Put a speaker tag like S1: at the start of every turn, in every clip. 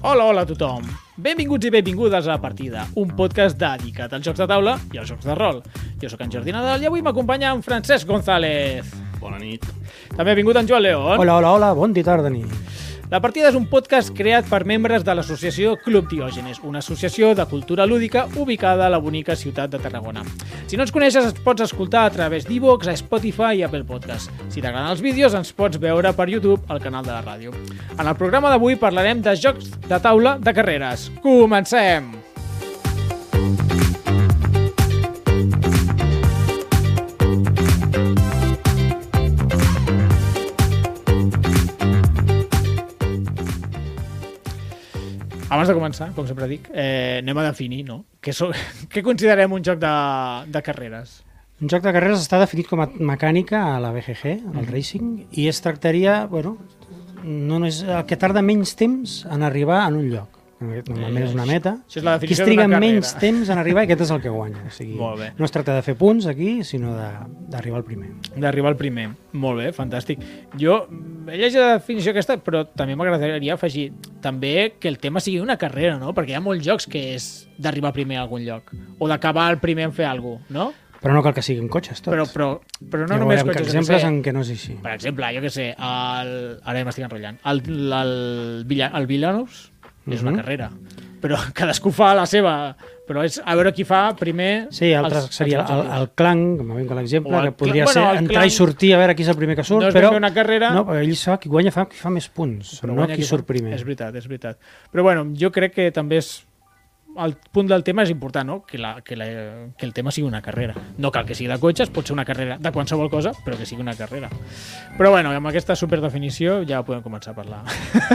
S1: Hola, hola a tothom. Benvinguts i benvingudes a La Partida, un podcast dedicat als jocs de taula i als jocs de rol. Jo sóc en Jordi Nadal i avui m'acompanya en Francesc González.
S2: Bona nit.
S1: També ha vingut en Joan León.
S3: Hola, hola, hola, bon dia, tarda, nit.
S1: La Partida és un podcast creat per membres de l'associació Club Diògenes, una associació de cultura lúdica ubicada a la bonica ciutat de Tarragona. Si no ens coneixes, ens pots escoltar a través d'Evox, a Spotify i Apple Podcast. Si t'agraden els vídeos, ens pots veure per YouTube al canal de la ràdio. En el programa d'avui parlarem de jocs de taula de carreres. Comencem! Abans de començar, com sempre dic, eh, anem a definir, no? Què, so... Què considerem un joc de, de carreres?
S3: Un joc de carreres està definit com a mecànica a la BGG,
S1: Mm.
S3: al racing, i es tractaria, bueno, no, no és el que tarda menys temps en arribar en un lloc. Normalment és una meta.
S1: Això és la
S3: Qui es
S1: definició
S3: triga
S1: d'una carrera.
S3: menys temps en arribar, aquest és el que guanya. O sigui,
S1: Molt bé.
S3: no es tracta de fer punts aquí, sinó de- d'arribar al primer.
S1: d'arribar al primer. Molt bé, fantàstic. Jo mm, he llegit la definició aquesta, però també m'agradaria afegir també que el tema sigui una carrera, no? Perquè hi ha molts jocs que és d'arribar primer a algun lloc o d'acabar el primer en fer alguna cosa, no?
S3: Però no cal que siguin cotxes, tots.
S1: Però, però, però no
S3: ja
S1: només
S3: veurem que
S1: cotxes, jo
S3: exemples
S1: què sé.
S3: en què no és així.
S1: Per exemple, jo què sé, el... ara ja m'estic enrotllant, el, el, Villa... el Villanos és una
S3: Mhm.
S1: carrera, però cadascú fa la seva, però és a veure qui fa primer...
S3: Sí, altres
S1: els-
S3: seria
S1: els
S3: el,
S1: objectius.
S3: el clanc, com vinc a l'exemple,
S1: O el
S3: que podria
S1: clanc-
S3: ser
S1: bueno, el
S3: entrar
S1: clanc-
S3: i sortir a veure qui és el primer que surt,
S1: No és ben
S3: però...
S1: bé una carrera.
S3: No, però ell fa, qui guanya fa, qui fa més punts,
S1: Però
S3: no
S1: guanya
S3: qui
S1: fa-
S3: surt primer.
S1: És veritat, és veritat. Però bueno, jo crec que també és el punt del tema és important, no? Que, la, que, la, que el tema sigui una carrera. No cal que sigui de cotxes, pot ser una carrera de qualsevol cosa, però que sigui una carrera. Però bueno, amb aquesta superdefinició ja podem començar a parlar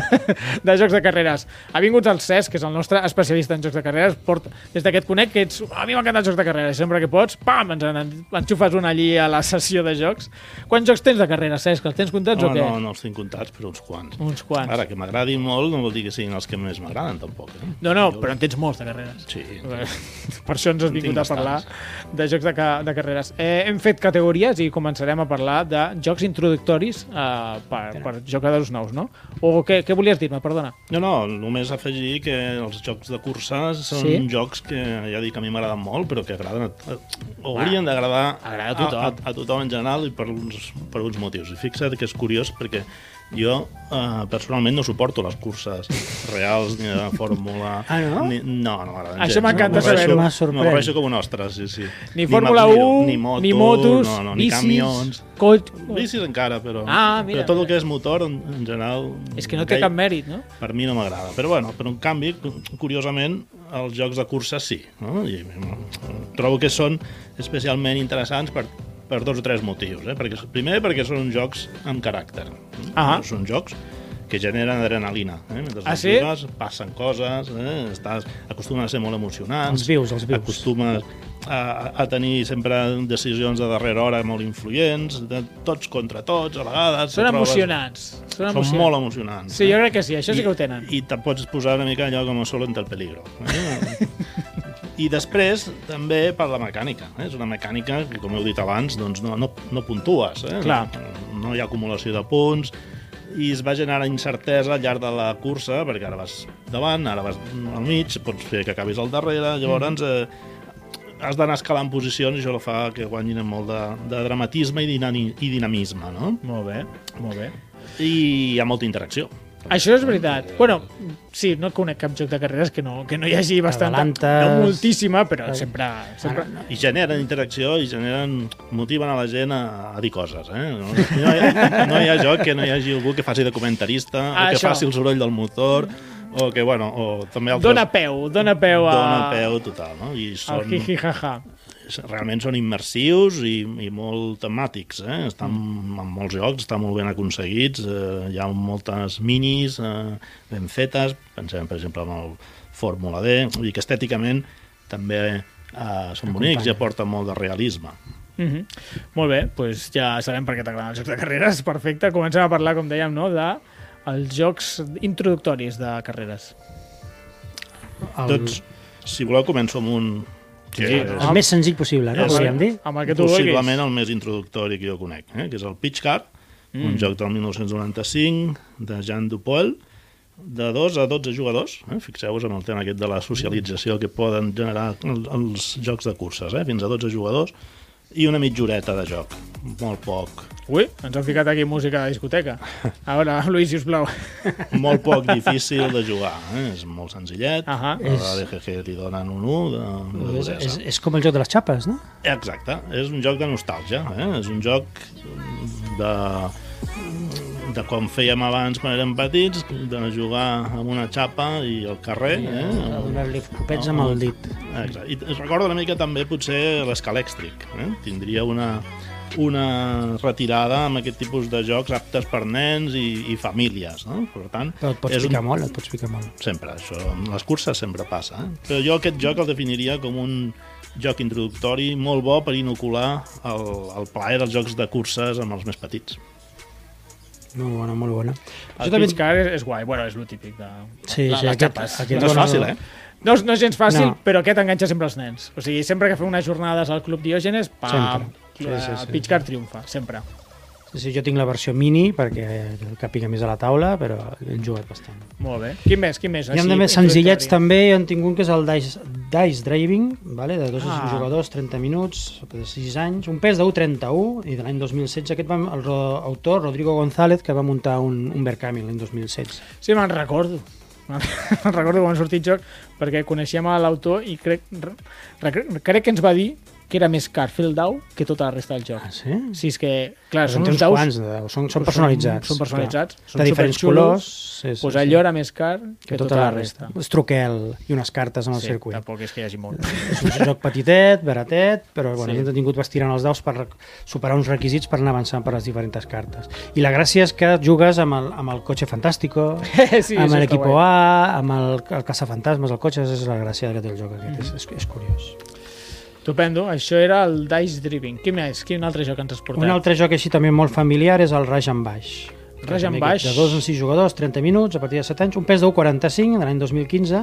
S1: de jocs de carreres. Ha vingut el Cesc, que és el nostre especialista en jocs de carreres. Porta, des d'aquest conec que ets... A mi m'encanta els jocs de carreres. Sempre que pots, pam, ens en, enxufes un allí a la sessió de jocs. Quants jocs tens de carreres, Cesc? Els tens comptats
S2: No,
S1: o què?
S2: no, no els tinc comptats, però uns quants.
S1: Uns quants.
S2: Ara, que m'agradi molt no vol dir que siguin els que més m'agraden, tampoc. Eh?
S1: No, no, però en tens molts de carreres.
S2: Sí.
S1: Per això ens has
S2: En
S1: vingut
S2: tinc
S1: a parlar de jocs de, ca de carreres. Eh, hem fet categories i començarem a parlar de jocs introductoris eh, per, per jugadors nous, no? O què, què volies dir-me, perdona?
S2: No, no, només afegir que els jocs de cursa són
S1: Sí.
S2: jocs que, ja dic, a mi m'agraden molt, però que agraden a, a, o haurien d'agradar
S1: agrada a tothom.
S2: A, a, a tothom en general i per uns, per uns motius. I fixa't que és curiós perquè jo eh, personalment no suporto les curses reals ni de fórmula...
S3: Ah, no?
S2: Ni, no, no m'agraden
S1: Això
S2: gens. eh?
S1: m'encanta
S2: M'avorreixo-
S3: saber-ho. M'ha sorprès.
S2: M'avorreixo com un ostres, sí, sí.
S1: Ni Fórmula
S2: Mac
S1: 1,
S2: Miro,
S1: ni,
S2: moto,
S1: motos,
S2: no, no, ni
S1: bicis,
S2: camions...
S1: cotx...
S2: Bicis encara, però,
S1: Ah, mira,
S2: però tot
S1: mira.
S2: el que és motor, en, en general...
S1: És que no té
S2: aquell-
S1: cap mèrit, no?
S2: per mi no m'agrada. Però, bueno, però en canvi, curiosament, els jocs de cursa sí. No? I, mm, trobo que són especialment interessants per, per dos o tres motius. Eh? Perquè, primer, perquè són jocs amb caràcter.
S1: Ahà.
S2: Són jocs que generen adrenalina. Eh? Mentre
S1: Ah,
S2: els
S1: sí?
S2: jugues, passen coses, eh? Estàs, acostumen a ser molt emocionants.
S3: Els vius, els vius.
S2: Acostumes a, a tenir sempre decisions de darrera hora molt influents, de tots contra tots, a vegades.
S1: Són
S2: et trobes-
S1: emocionants. Són,
S2: Són
S1: emocionants.
S2: molt emocionants.
S1: Sí,
S2: eh?
S1: jo crec que sí, això sí que ho tenen.
S2: I te pots posar una mica allò com a solo entre el peligro. Eh? I després, també per la mecànica. Eh? És una mecànica que, com heu dit abans, doncs no, no, no puntues. Eh?
S1: Clar.
S2: No, no hi ha acumulació de punts, i es va generar incertesa al llarg de la cursa, perquè ara vas davant, ara vas al mig, pots fer que acabis al darrere, llavors eh, has d'anar escalant posicions i això la fa que guanyin amb molt de, de dramatisme i, dinani, i dinamisme, no?
S1: Molt bé, molt bé.
S2: I hi ha molta interacció.
S1: Això és veritat. Bueno, sí, no conec cap joc de carreres que no, que no hi hagi bastant...
S3: Adelantes.
S1: No moltíssima, però sempre... sempre...
S2: i generen interacció i generen, motiven a la gent a, a dir coses. Eh? No, no, hi ha, no hi ha joc que no hi hagi algú que faci de comentarista,
S1: Ah,
S2: o que
S1: això.
S2: faci el soroll del motor, o que, bueno, o també altres...
S1: Dóna peu, dona peu a...
S2: Dona peu total, no? I
S1: Al
S2: són,
S1: hi ha
S2: realment són immersius i, i molt temàtics, eh? Estan
S1: Mm.
S2: en molts jocs, estan molt ben aconseguits, eh, hi ha moltes minis eh, ben fetes, pensem, per exemple, en el Fórmula D, vull dir que estèticament també eh, són bonics i aporten molt de realisme.
S1: Mhm. Molt bé, doncs ja sabem per què t'agraden els jocs de carreres. Perfecte, comencem a parlar, com dèiem, no? de els jocs introductoris de carreres.
S3: El,
S2: Tots, si voleu, començo amb un... Que
S1: sí,
S2: és
S3: el més senzill possible, no?
S2: És-
S3: Podríem dir.
S1: Amb el que tu
S2: possiblement
S1: vulguis.
S2: el més introductori que jo conec, eh? que és el Pitch Car, mm. un joc del 1995 de Jean Dupoel, de 2 a 12 jugadors, eh? fixeu-vos en el tema aquest de la socialització que poden generar el- els jocs de curses, eh? fins a 12 jugadors, i una mitjoreta de joc, molt poc,
S1: Ui, ens han ficat aquí música de discoteca. A veure, Luis, sisplau.
S2: molt poc difícil de jugar, eh? és molt senzillet, uh
S1: Ahà.
S2: -huh. a la DGG li donen un 1 de, de
S3: Ah, És,
S2: duresa.
S3: és, és com el joc de les xapes, no?
S2: Exacte, és un joc de nostàlgia, eh? és un joc de, de com fèiem abans quan érem petits, de jugar amb una xapa i al carrer, eh?
S3: A donar-li copets amb el dit.
S2: Exacte. I es recorda una mica també potser l'escalèxtric. Eh? Tindria una, una retirada amb aquest tipus de jocs aptes per nens i, i famílies. No? Per tant,
S3: Però et pots
S2: és
S3: picar molt, et pots picar molt.
S2: Sempre, això, amb les curses sempre passa. Eh? Però jo aquest joc el definiria com un joc introductori molt bo per inocular el, el plaer dels jocs de curses amb els més petits.
S3: Molt bona, molt bona.
S1: Això també car és, és guai. Bueno, és lo típic de...
S3: Sí,
S1: la,
S3: sí,
S1: les
S3: aquest-
S1: xapes.
S3: aquest-
S2: No és fàcil, eh?
S1: No, és- no és gens fàcil,
S3: No.
S1: no. però aquest enganxa sempre els nens. O sigui, sempre que fem unes jornades al Club Diògenes, pam,
S3: Sempre. Sí,
S1: la-
S3: sí, sí.
S1: Pitchcart triomfa, sempre.
S3: Sí, sí, jo tinc la versió mini perquè capiga més a la taula, però hem jugat bastant.
S1: Molt bé. Quin més? Quin més?
S3: Hi ha
S1: Així,
S3: de més senzillets
S1: introductori.
S3: també, jo en tinc un que és el Dice, dice Driving, vale? de dos
S1: Ah.
S3: a cinc jugadors, 30 minuts, de 6 anys, un pes d'1,31 i de l'any 2016 aquest va el ro- autor Rodrigo González que va muntar un, un Verkami l'any 2016.
S1: Sí, me'n recordo. Me'n me'n recordo quan sortit joc, perquè coneixíem a l'autor i crec, re- re- crec que ens va dir que era més car fer el dau que tota la resta del joc.
S3: Ah, sí?
S1: Si és que, clar,
S3: Però
S1: són
S3: en
S1: uns
S3: tens
S1: daus...
S3: quants, de, són, són personalitzats.
S1: Són, són personalitzats.
S3: clar.
S1: Són
S3: de diferents
S1: superxulos.
S3: colors. Sí,
S1: Doncs allò era més car que,
S3: tota la resta. Un truquel i unes cartes en el
S1: Sí,
S3: circuit.
S1: tampoc és que hi hagi molt.
S3: És un joc petitet, baratet, però bueno,
S1: Sí.
S3: sí. hem tingut estirant els daus per rec- superar uns requisits per anar avançant per les diferents cartes. I la gràcia és que jugues amb el, amb el cotxe fantàstico,
S1: sí,
S3: amb
S1: això està
S3: Ah, l'equipo
S1: guai.
S3: A, amb el, el caçafantasmes, el cotxe, és la gràcia que té el joc aquest, mm
S1: Mhm.
S3: -hmm. és, és curiós.
S1: Estupendo. Això era el Dice Driving. Quin més? Quin altre joc ens has portat?
S3: Un altre joc així també molt familiar és el Raj en Baix.
S1: Raj en
S3: També
S1: Baix.
S3: De 2 en 6 jugadors, 30 minuts, a partir de 7 anys, un pes d'1,45 de l'any 2015,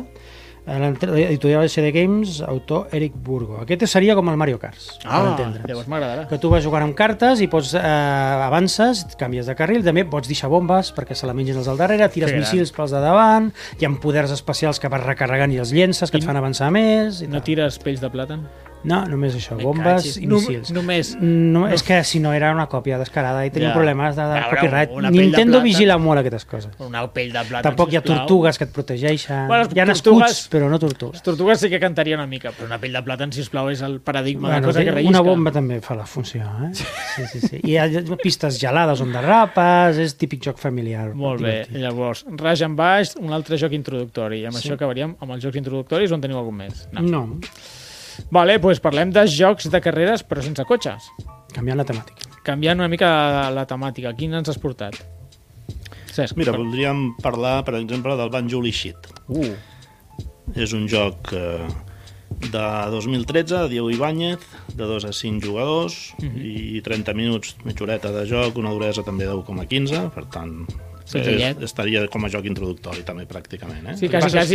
S3: a l'editorial CD Games, autor Eric Burgo. Aquest seria com el Mario Kart, per
S1: Ah,
S3: entendre's.
S1: llavors m'agradarà.
S3: que tu vas jugant amb cartes i pots eh, avances, canvies de carril, també pots deixar bombes perquè se la mengin els del darrere, tires
S1: Que gran.
S3: missils pels de davant, hi ha poders especials que vas recarregant i els llences que et
S1: I-
S3: fan avançar més i
S1: No
S3: tal.
S1: tires pells de plàtan?
S3: No, només això,
S1: Me
S3: bombes
S1: cachis.
S3: i
S1: Nom-
S3: míssils.
S1: només.
S3: No, és que si no era una còpia descarada i tenia
S1: Ja.
S3: problemes de, de
S1: Veure,
S3: copyright.
S1: una pell de
S3: Nintendo
S1: plata.
S3: vigila molt aquestes coses.
S1: Una pell de plàtan,
S3: Tampoc hi ha
S1: sisplau.
S3: tortugues que et protegeixen.
S1: Bueno, les
S3: hi ha
S1: tortugues-
S3: escuts, però no tortugues.
S1: Les tortugues sí que cantaria una mica, però una pell de plàtan, sisplau, és el paradigma bueno, de cosa
S3: té-
S1: que rellisca.
S3: una bomba també fa la funció, eh? Sí, sí, sí. Hi ha pistes gelades on derrapes, és típic joc familiar.
S1: Molt bé,
S3: divertit.
S1: llavors, Raj en baix, un altre joc introductori. I amb
S3: Sí.
S1: això acabaríem amb els jocs introductoris, on teniu algun més? No.
S3: No,
S1: Vale, doncs parlem de jocs de carreres, però sense cotxes.
S3: canviant la temàtica.
S1: Canviant una mica la, la temàtica, quin ens has portat? Cesc,
S2: Mira,
S1: per-
S2: voldríem parlar, per exemple, del Banjuli Shit.
S1: uh,
S2: És un joc eh, de 2013, de Diego Ibáñez, de 2 a 5 jugadors
S1: Mhm.
S2: i 30 minuts, mitjoreta de joc, una duresa també de 1,15, per tant,
S1: Senzillet.
S2: és, estaria com a joc introductori també, pràcticament. Eh?
S1: sí,
S2: El que
S1: quasi,
S2: passa és
S1: quasi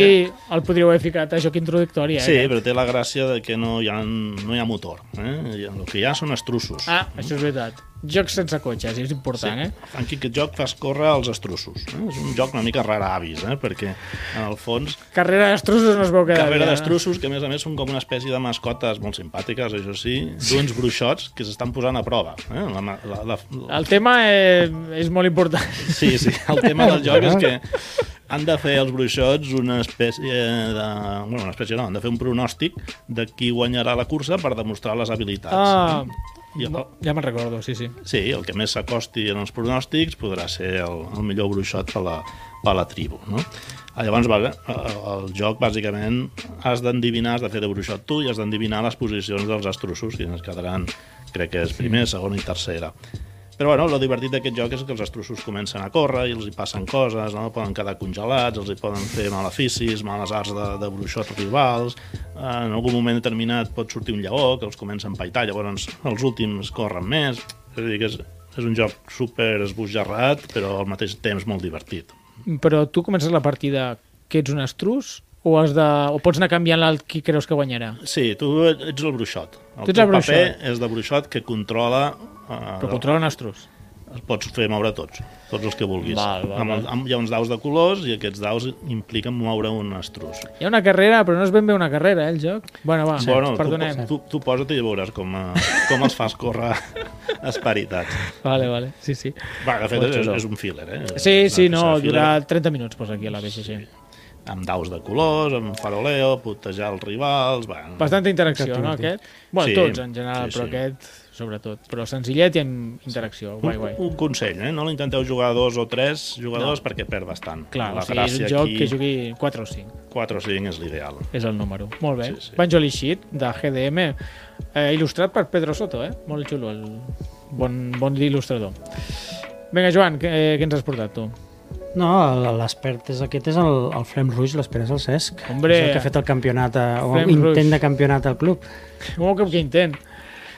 S2: que-
S1: el podríeu haver ficat a joc introductori, eh?
S2: Sí, però té la gràcia de que no hi ha, no hi ha motor. Eh? El que hi ha són estrussos.
S1: Ah, això és veritat. Jocs sense cotxes, és important, sí. eh?
S2: En aquest joc fas córrer els estrussos. Eh? És un joc una mica rara avis, eh? perquè en el fons
S1: Carrera d'estrusos no es veu quedar bé,
S2: Carrera
S1: eh?
S2: d'estrussos, que a més a més són com una espècie de mascotes molt simpàtiques, això sí, d'uns bruixots que s'estan posant a prova. Eh? La, ma- la, la, la...
S1: El tema eh, és molt important.
S2: Sí, sí, el tema del joc és que han de fer els bruixots una espècie de... Bueno, una espècie no, han de fer un pronòstic de qui guanyarà la cursa per demostrar les habilitats.
S1: Ah,
S2: I el,
S1: ja me'n recordo, sí, sí.
S2: sí, el que més s'acosti en els pronòstics podrà ser el, el millor bruixot per la, per la tribu, no? Ah, Llavors, vale, eh, el joc, bàsicament, has d'endevinar, has de fer de bruixot tu i has d'endevinar les posicions dels astrussos, que es quedaran, crec que és primer, segon i tercera. Però bueno, el divertit d'aquest joc és que els astrussos comencen a córrer i els hi passen coses, no? poden quedar congelats, els hi poden fer maleficis, males arts de, de bruixots rivals, Eh, en algun moment determinat pot sortir un lleó que els comença a empaitar, llavors els últims corren més, és a dir, que és, és un joc super esbojarrat, però al mateix temps molt divertit.
S1: Però tu comences la partida que ets un estrus o, has de, o pots anar canviant el qui creus que guanyarà?
S2: Sí, tu ets el bruixot.
S1: Tu ets el
S2: El teu paper
S1: bruixot.
S2: és de bruixot que controla... Eh,
S1: Però controla un estrus.
S2: els pots fer moure tots, tots els que vulguis.
S1: Val, val,
S2: amb, el-
S1: val.
S2: amb, hi ha uns daus de colors i aquests daus impliquen moure un estrus.
S1: Hi ha una carrera, però no és ben bé una carrera, eh, el joc. Bueno, va,
S2: bueno,
S1: perdonem.
S2: tu, tu, tu posa't i veuràs com, eh, com els fas córrer esperitats.
S1: Vale, vale, sí, sí.
S2: Va, de fet,
S1: Molt
S2: és,
S1: xulo.
S2: és un filler, eh?
S1: Sí, sí,
S2: És
S1: no,
S2: un filler
S1: durarà 30 minuts pues, aquí a la BGG.
S2: Amb daus de colors, amb faroleo, putejar els rivals... Va,
S1: Bastanta interacció,
S3: Exacte,
S1: no,
S3: Martí.
S1: aquest? Bueno,
S2: Sí,
S1: tots en general,
S2: sí,
S1: però
S2: sí.
S1: aquest sobretot. Però senzillet i amb interacció, guai, guai.
S2: Un, un consell, eh? no l'intenteu jugar a dos o tres jugadors no. perquè perd bastant.
S1: Clar,
S2: la
S1: o sigui, és un joc que jugui 4 o 5.
S2: 4 o 5 és l'ideal.
S1: és el número. Molt bé.
S2: Sí,
S1: Sí,
S2: sí.
S1: sí. Banjoli Sheet, de GDM, eh, il·lustrat per Pedro Soto, eh? Molt xulo, el bon, bon il·lustrador. Vinga, Joan, què, eh, què ens has portat, tu?
S3: No, el- l'expert és aquest, és el, el Flem Ruiz, l'expert és el Cesc.
S1: Hombre.
S3: és el que ha fet el campionat, a, o
S1: Flem
S3: intent
S1: Ruiz.
S3: de campionat al club.
S1: Un que, que intent.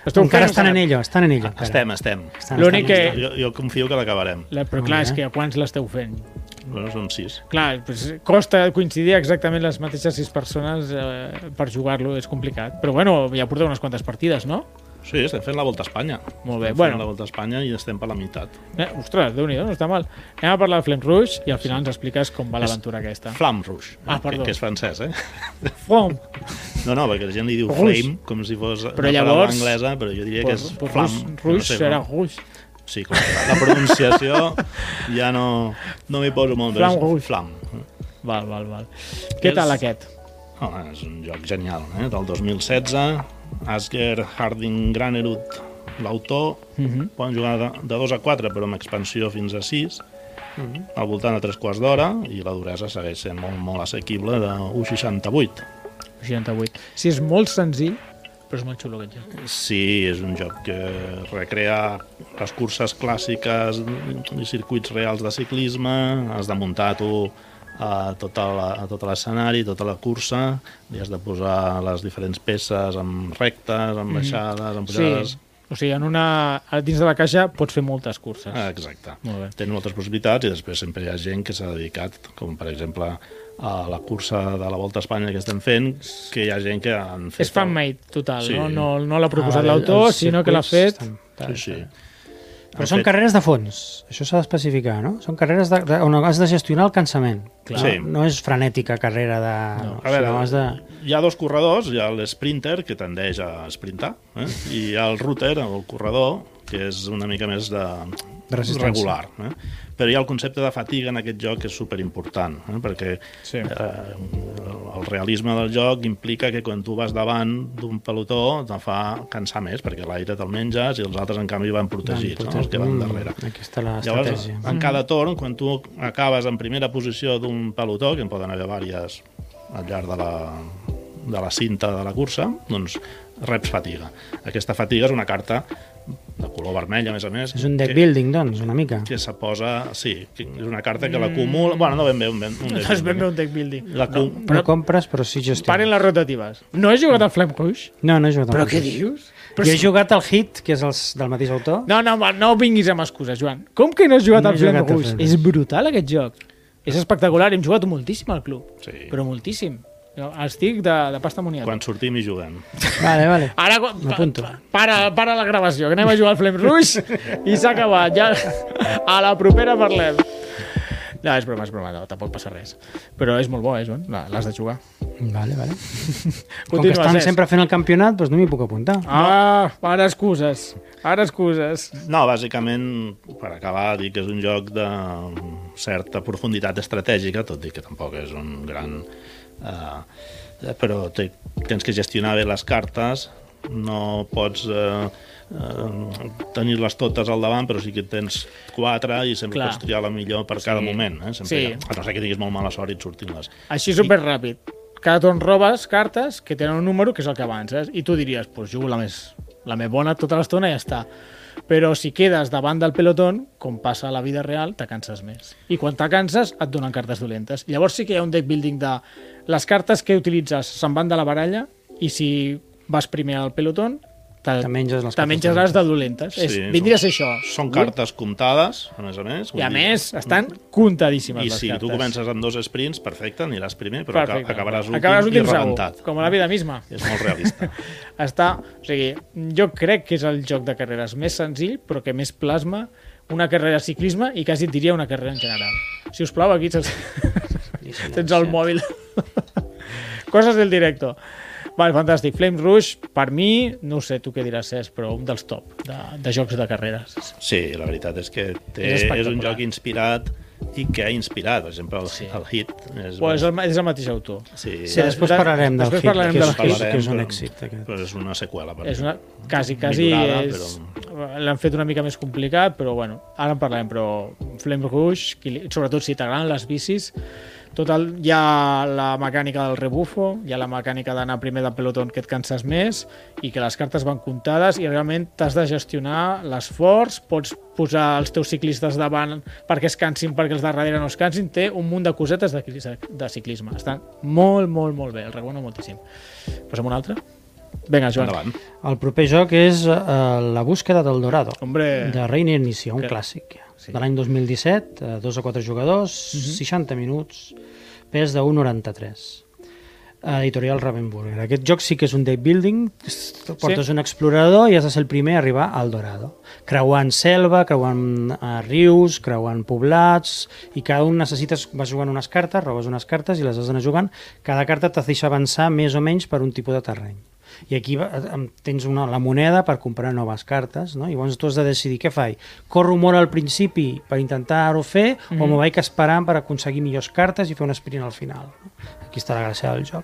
S3: Esteu encara
S1: fent
S3: estan en
S1: un-
S3: ello, estan en ello. encara.
S2: Estem, estem.
S3: Estan-
S1: Ah, L'únic
S3: estan-
S1: que-
S2: Jo, jo confio que l'acabarem.
S1: La, però
S3: Molt
S1: clar, és
S3: bé.
S1: que a quants l'esteu fent?
S2: Bueno, som 6.
S1: Clar, pues, costa coincidir exactament les mateixes sis persones eh, per jugar-lo, és complicat. Però bueno, ja porteu unes quantes partides, no?
S2: Sí, estem fent la Volta a Espanya.
S1: Molt bé,
S2: Estem
S1: bueno.
S2: fent la Volta a Espanya i estem per la meitat.
S1: Eh, ostres, déu nhi no està mal. Anem a parlar de Flame Rouge i al final ens expliques com va l'aventura aquesta.
S2: Flam Rouge,
S1: Ah,
S2: que,
S1: perdó.
S2: que és francès, eh?
S1: Flame!
S2: No, no, perquè la gent li diu
S1: Rouge.
S2: flame, com si fos
S1: Però
S2: una paraula
S1: llavors-
S2: anglesa, però jo diria que és
S1: Pues, pues,
S2: flam.
S1: Rouge,
S2: que
S1: Rouge
S2: sé,
S1: serà Rouge.
S2: Sí, clar, la pronunciació ja no, no m'hi poso molt. però
S1: Flam
S2: és
S1: Rouge.
S2: Flam.
S1: Val, val, val. Què
S2: És-
S1: tal aquest?
S2: Home, Ah, és un joc genial, eh? del 2016. Asger Harding Granerud, l'autor,
S1: Uh -huh.
S2: poden jugar de, de 2 a 4, però amb expansió fins a 6, al voltant de 3 quarts d'hora, i la duresa segueix sent molt, molt assequible de 1,68.
S1: 68. Sí, és molt senzill, però és molt xulo aquest joc.
S2: Sí, és un joc que recrea les curses clàssiques i circuits reals de ciclisme, has de muntar tu a tot la- a tot l'escenari, tota la cursa, li has de posar les diferents peces amb rectes, amb baixades, amb pujades...
S1: Sí, o sigui, en una, dins de la caixa pots fer moltes curses.
S2: Ah, Exacte.
S1: Molt bé.
S2: Tens moltes possibilitats i després sempre hi ha gent que s'ha dedicat, com per exemple a la cursa de la Volta a Espanya que estem fent, que hi ha gent que han fet...
S1: és fan-made, total.
S2: Sí.
S1: No, no, no l'ha proposat
S3: Ah,
S1: l'autor,
S3: els
S1: sinó que l'ha fet...
S3: circuits estan-
S2: Sí, sí.
S3: Però
S2: Han
S3: són
S2: fet-
S3: carreres de fons, això s'ha d'especificar, no? Són carreres de, de, on has de gestionar el cansament.
S1: Clar.
S2: Sí.
S3: No, no és frenètica carrera de... No.
S2: A veure,
S3: sinó has de...
S2: hi ha dos corredors, hi ha l'sprinter, que tendeix a sprintar, eh? i hi ha el router, el corredor, que és una mica més de,
S3: De resistència.
S2: regular. Eh? Però hi ha el concepte de fatiga en aquest joc que és superimportant, eh? perquè
S1: Sí.
S2: eh, el realisme del joc implica que quan tu vas davant d'un pelotó te fa cansar més, perquè l'aire te'l menges i els altres, en canvi, van protegits, van
S3: Van
S2: no? els que van
S3: Mm,
S2: darrere.
S3: Aquí està
S2: Llavors, eh,
S3: l'estratègia.
S1: Mm.
S2: en cada torn, quan tu acabes en primera posició d'un pelotó, que en poden haver diverses al llarg de la, de la cinta de la cursa, doncs reps fatiga. Aquesta fatiga és una carta de color vermell, a més a més.
S3: És un deck
S2: que-
S3: building, doncs, una mica.
S2: Que se posa... Sí, que és una carta que l'acumula... Bueno, no ben bé, un, ben, un deck
S1: Mm. No és ben bé
S2: building.
S1: Doncs un deck building.
S2: L'acum-
S3: Però... No compres, però sí
S1: Paren
S3: gestiones.
S1: les rotatives. No has jugat al Flame Rouge?
S3: No, no he jugat. Però
S1: dius? Però
S3: Però jo he
S1: si...
S3: jugat al hit, que és els, del mateix autor.
S1: No, no, va, no vinguis amb excuses, Joan. Com que no has jugat
S3: No he
S1: al Flame
S3: jugat al
S1: Rouge?
S3: Flame
S1: És
S3: Rouge.
S1: brutal, aquest joc. És espectacular. Hem jugat moltíssim al club.
S2: Sí.
S1: Però moltíssim. Jo Estic de, de pasta moniada.
S2: Quan sortim i juguem.
S3: Vale, vale.
S1: Ara, quan- pa,
S3: M'apunto.
S1: pa, para, para la gravació, que anem a jugar al Flame Rouge i s'ha acabat. Ja, a la propera parlem. No, és broma, és broma, no, tampoc passa res. Però és molt bo, eh, Joan? No, L'has de jugar.
S3: Vale, vale. Com que
S1: Continua,
S3: estan
S1: Cesc.
S3: sempre fent el campionat, doncs no m'hi puc apuntar.
S1: Ah, ara excuses. Ara excuses.
S2: No, bàsicament, per acabar, dir que és un joc de certa profunditat estratègica, tot i que tampoc és un gran... Eh, però té, tens que gestionar bé les cartes, no pots eh, eh, tenir-les totes al davant, però sí que tens quatre i sempre
S1: Clar.
S2: Clar. pots triar la millor per cada moment. Eh? Sempre,
S1: Sí.
S2: hi ha- A no ser que tinguis molt mala sort i et surtin les...
S1: Així super ràpid. Cada torn robes cartes que tenen un número que és el que avances i tu diries, pues jugo la més, la més bona tota l'estona i ja està. Però si quedes davant del pelotón, com passa a la vida real, te canses més. I quan te canses et donen cartes dolentes. Llavors sí que hi ha un deck building de les cartes que utilitzes se'n van de la baralla i si vas primer al pelotón te,
S3: Te menges les
S1: te
S3: cartes
S1: menges les de dolentes. Sí, és, vindria a ser això.
S2: Són cartes comptades, a més a
S1: I
S2: més. vull
S1: a
S2: dir-
S1: més, estan contadíssimes
S2: I
S1: les
S2: si
S1: cartes.
S2: tu comences amb dos sprints, perfecte, aniràs primer, però aca- acabaràs últim,
S1: Acabaràs últim
S2: i
S1: segur,
S2: rebentat.
S1: Com a la vida misma.
S2: És molt realista.
S1: Està, o sigui, jo crec que és el joc de carreres més senzill, però que més plasma una carrera de ciclisme i quasi et diria una carrera en general. Si us plau, aquí tens, tens el mòbil. Coses del directo. Vale, fantàstic. Flame Rush, per mi, no ho sé tu què diràs, Cesc, però un dels top de, de jocs de carreres.
S2: Sí, la veritat és que té,
S1: És
S2: és,
S1: espectacular.
S2: és un joc inspirat i que ha inspirat, per exemple, el,
S1: Sí.
S2: sí. el hit. És,
S1: Bueno, és, el, ma- és el mateix autor.
S2: sí,
S3: Sí,
S1: de-
S3: després parlarem del
S1: després
S3: hit,
S1: parlarem
S3: que
S1: del
S3: és, que és,
S2: hit.
S3: que és un
S2: Però-
S3: èxit. Aquest.
S2: però és una seqüela. Per
S1: És
S2: mi.
S1: una, quasi, quasi
S2: Millorada,
S1: és... L'han fet una mica més complicat, però bueno, ara en parlarem, però Flame Rush, qui li- sobretot si t'agraden les bicis, tot el, hi ha la mecànica del rebufo, hi ha la mecànica d'anar primer de pelotón que et canses més i que les cartes van comptades i realment t'has de gestionar l'esforç, pots posar els teus ciclistes davant perquè es cansin, perquè els de darrere no es cansin, té un munt de cosetes de, ciclis- de ciclisme. Està molt, molt, molt bé, el recomano moltíssim. Posem un altre? Vinga, Joan.
S2: Endavant.
S3: El proper joc és eh, La búsqueda del Dorado.
S1: Hombre,
S3: de Reiner Inicia, un
S1: Eh, Que-
S3: clàssic.
S1: Sí. Mhm.
S3: De l'any 2017, eh, dos a quatre jugadors, 60 minuts, pes de 1,93. Eh, Editorial Ravenburger. Aquest joc sí que és un deck building, Tu portes un explorador i has de ser el primer a arribar al Dorado. Creuant selva, creuant eh, rius, creuant poblats, i cada un necessites, vas jugant unes cartes, robes unes cartes i les has d'anar jugant. Cada carta te deixa avançar més o menys per un tipus de terreny i aquí va- eh, em- tens una, la moneda per comprar noves cartes, no? I llavors tu has de decidir què faig. Corro molt al principi per intentar-ho fer mm -hmm. o m'ho vaig esperant per aconseguir millors cartes i fer un sprint al final. No? Aquí està la gràcia del joc.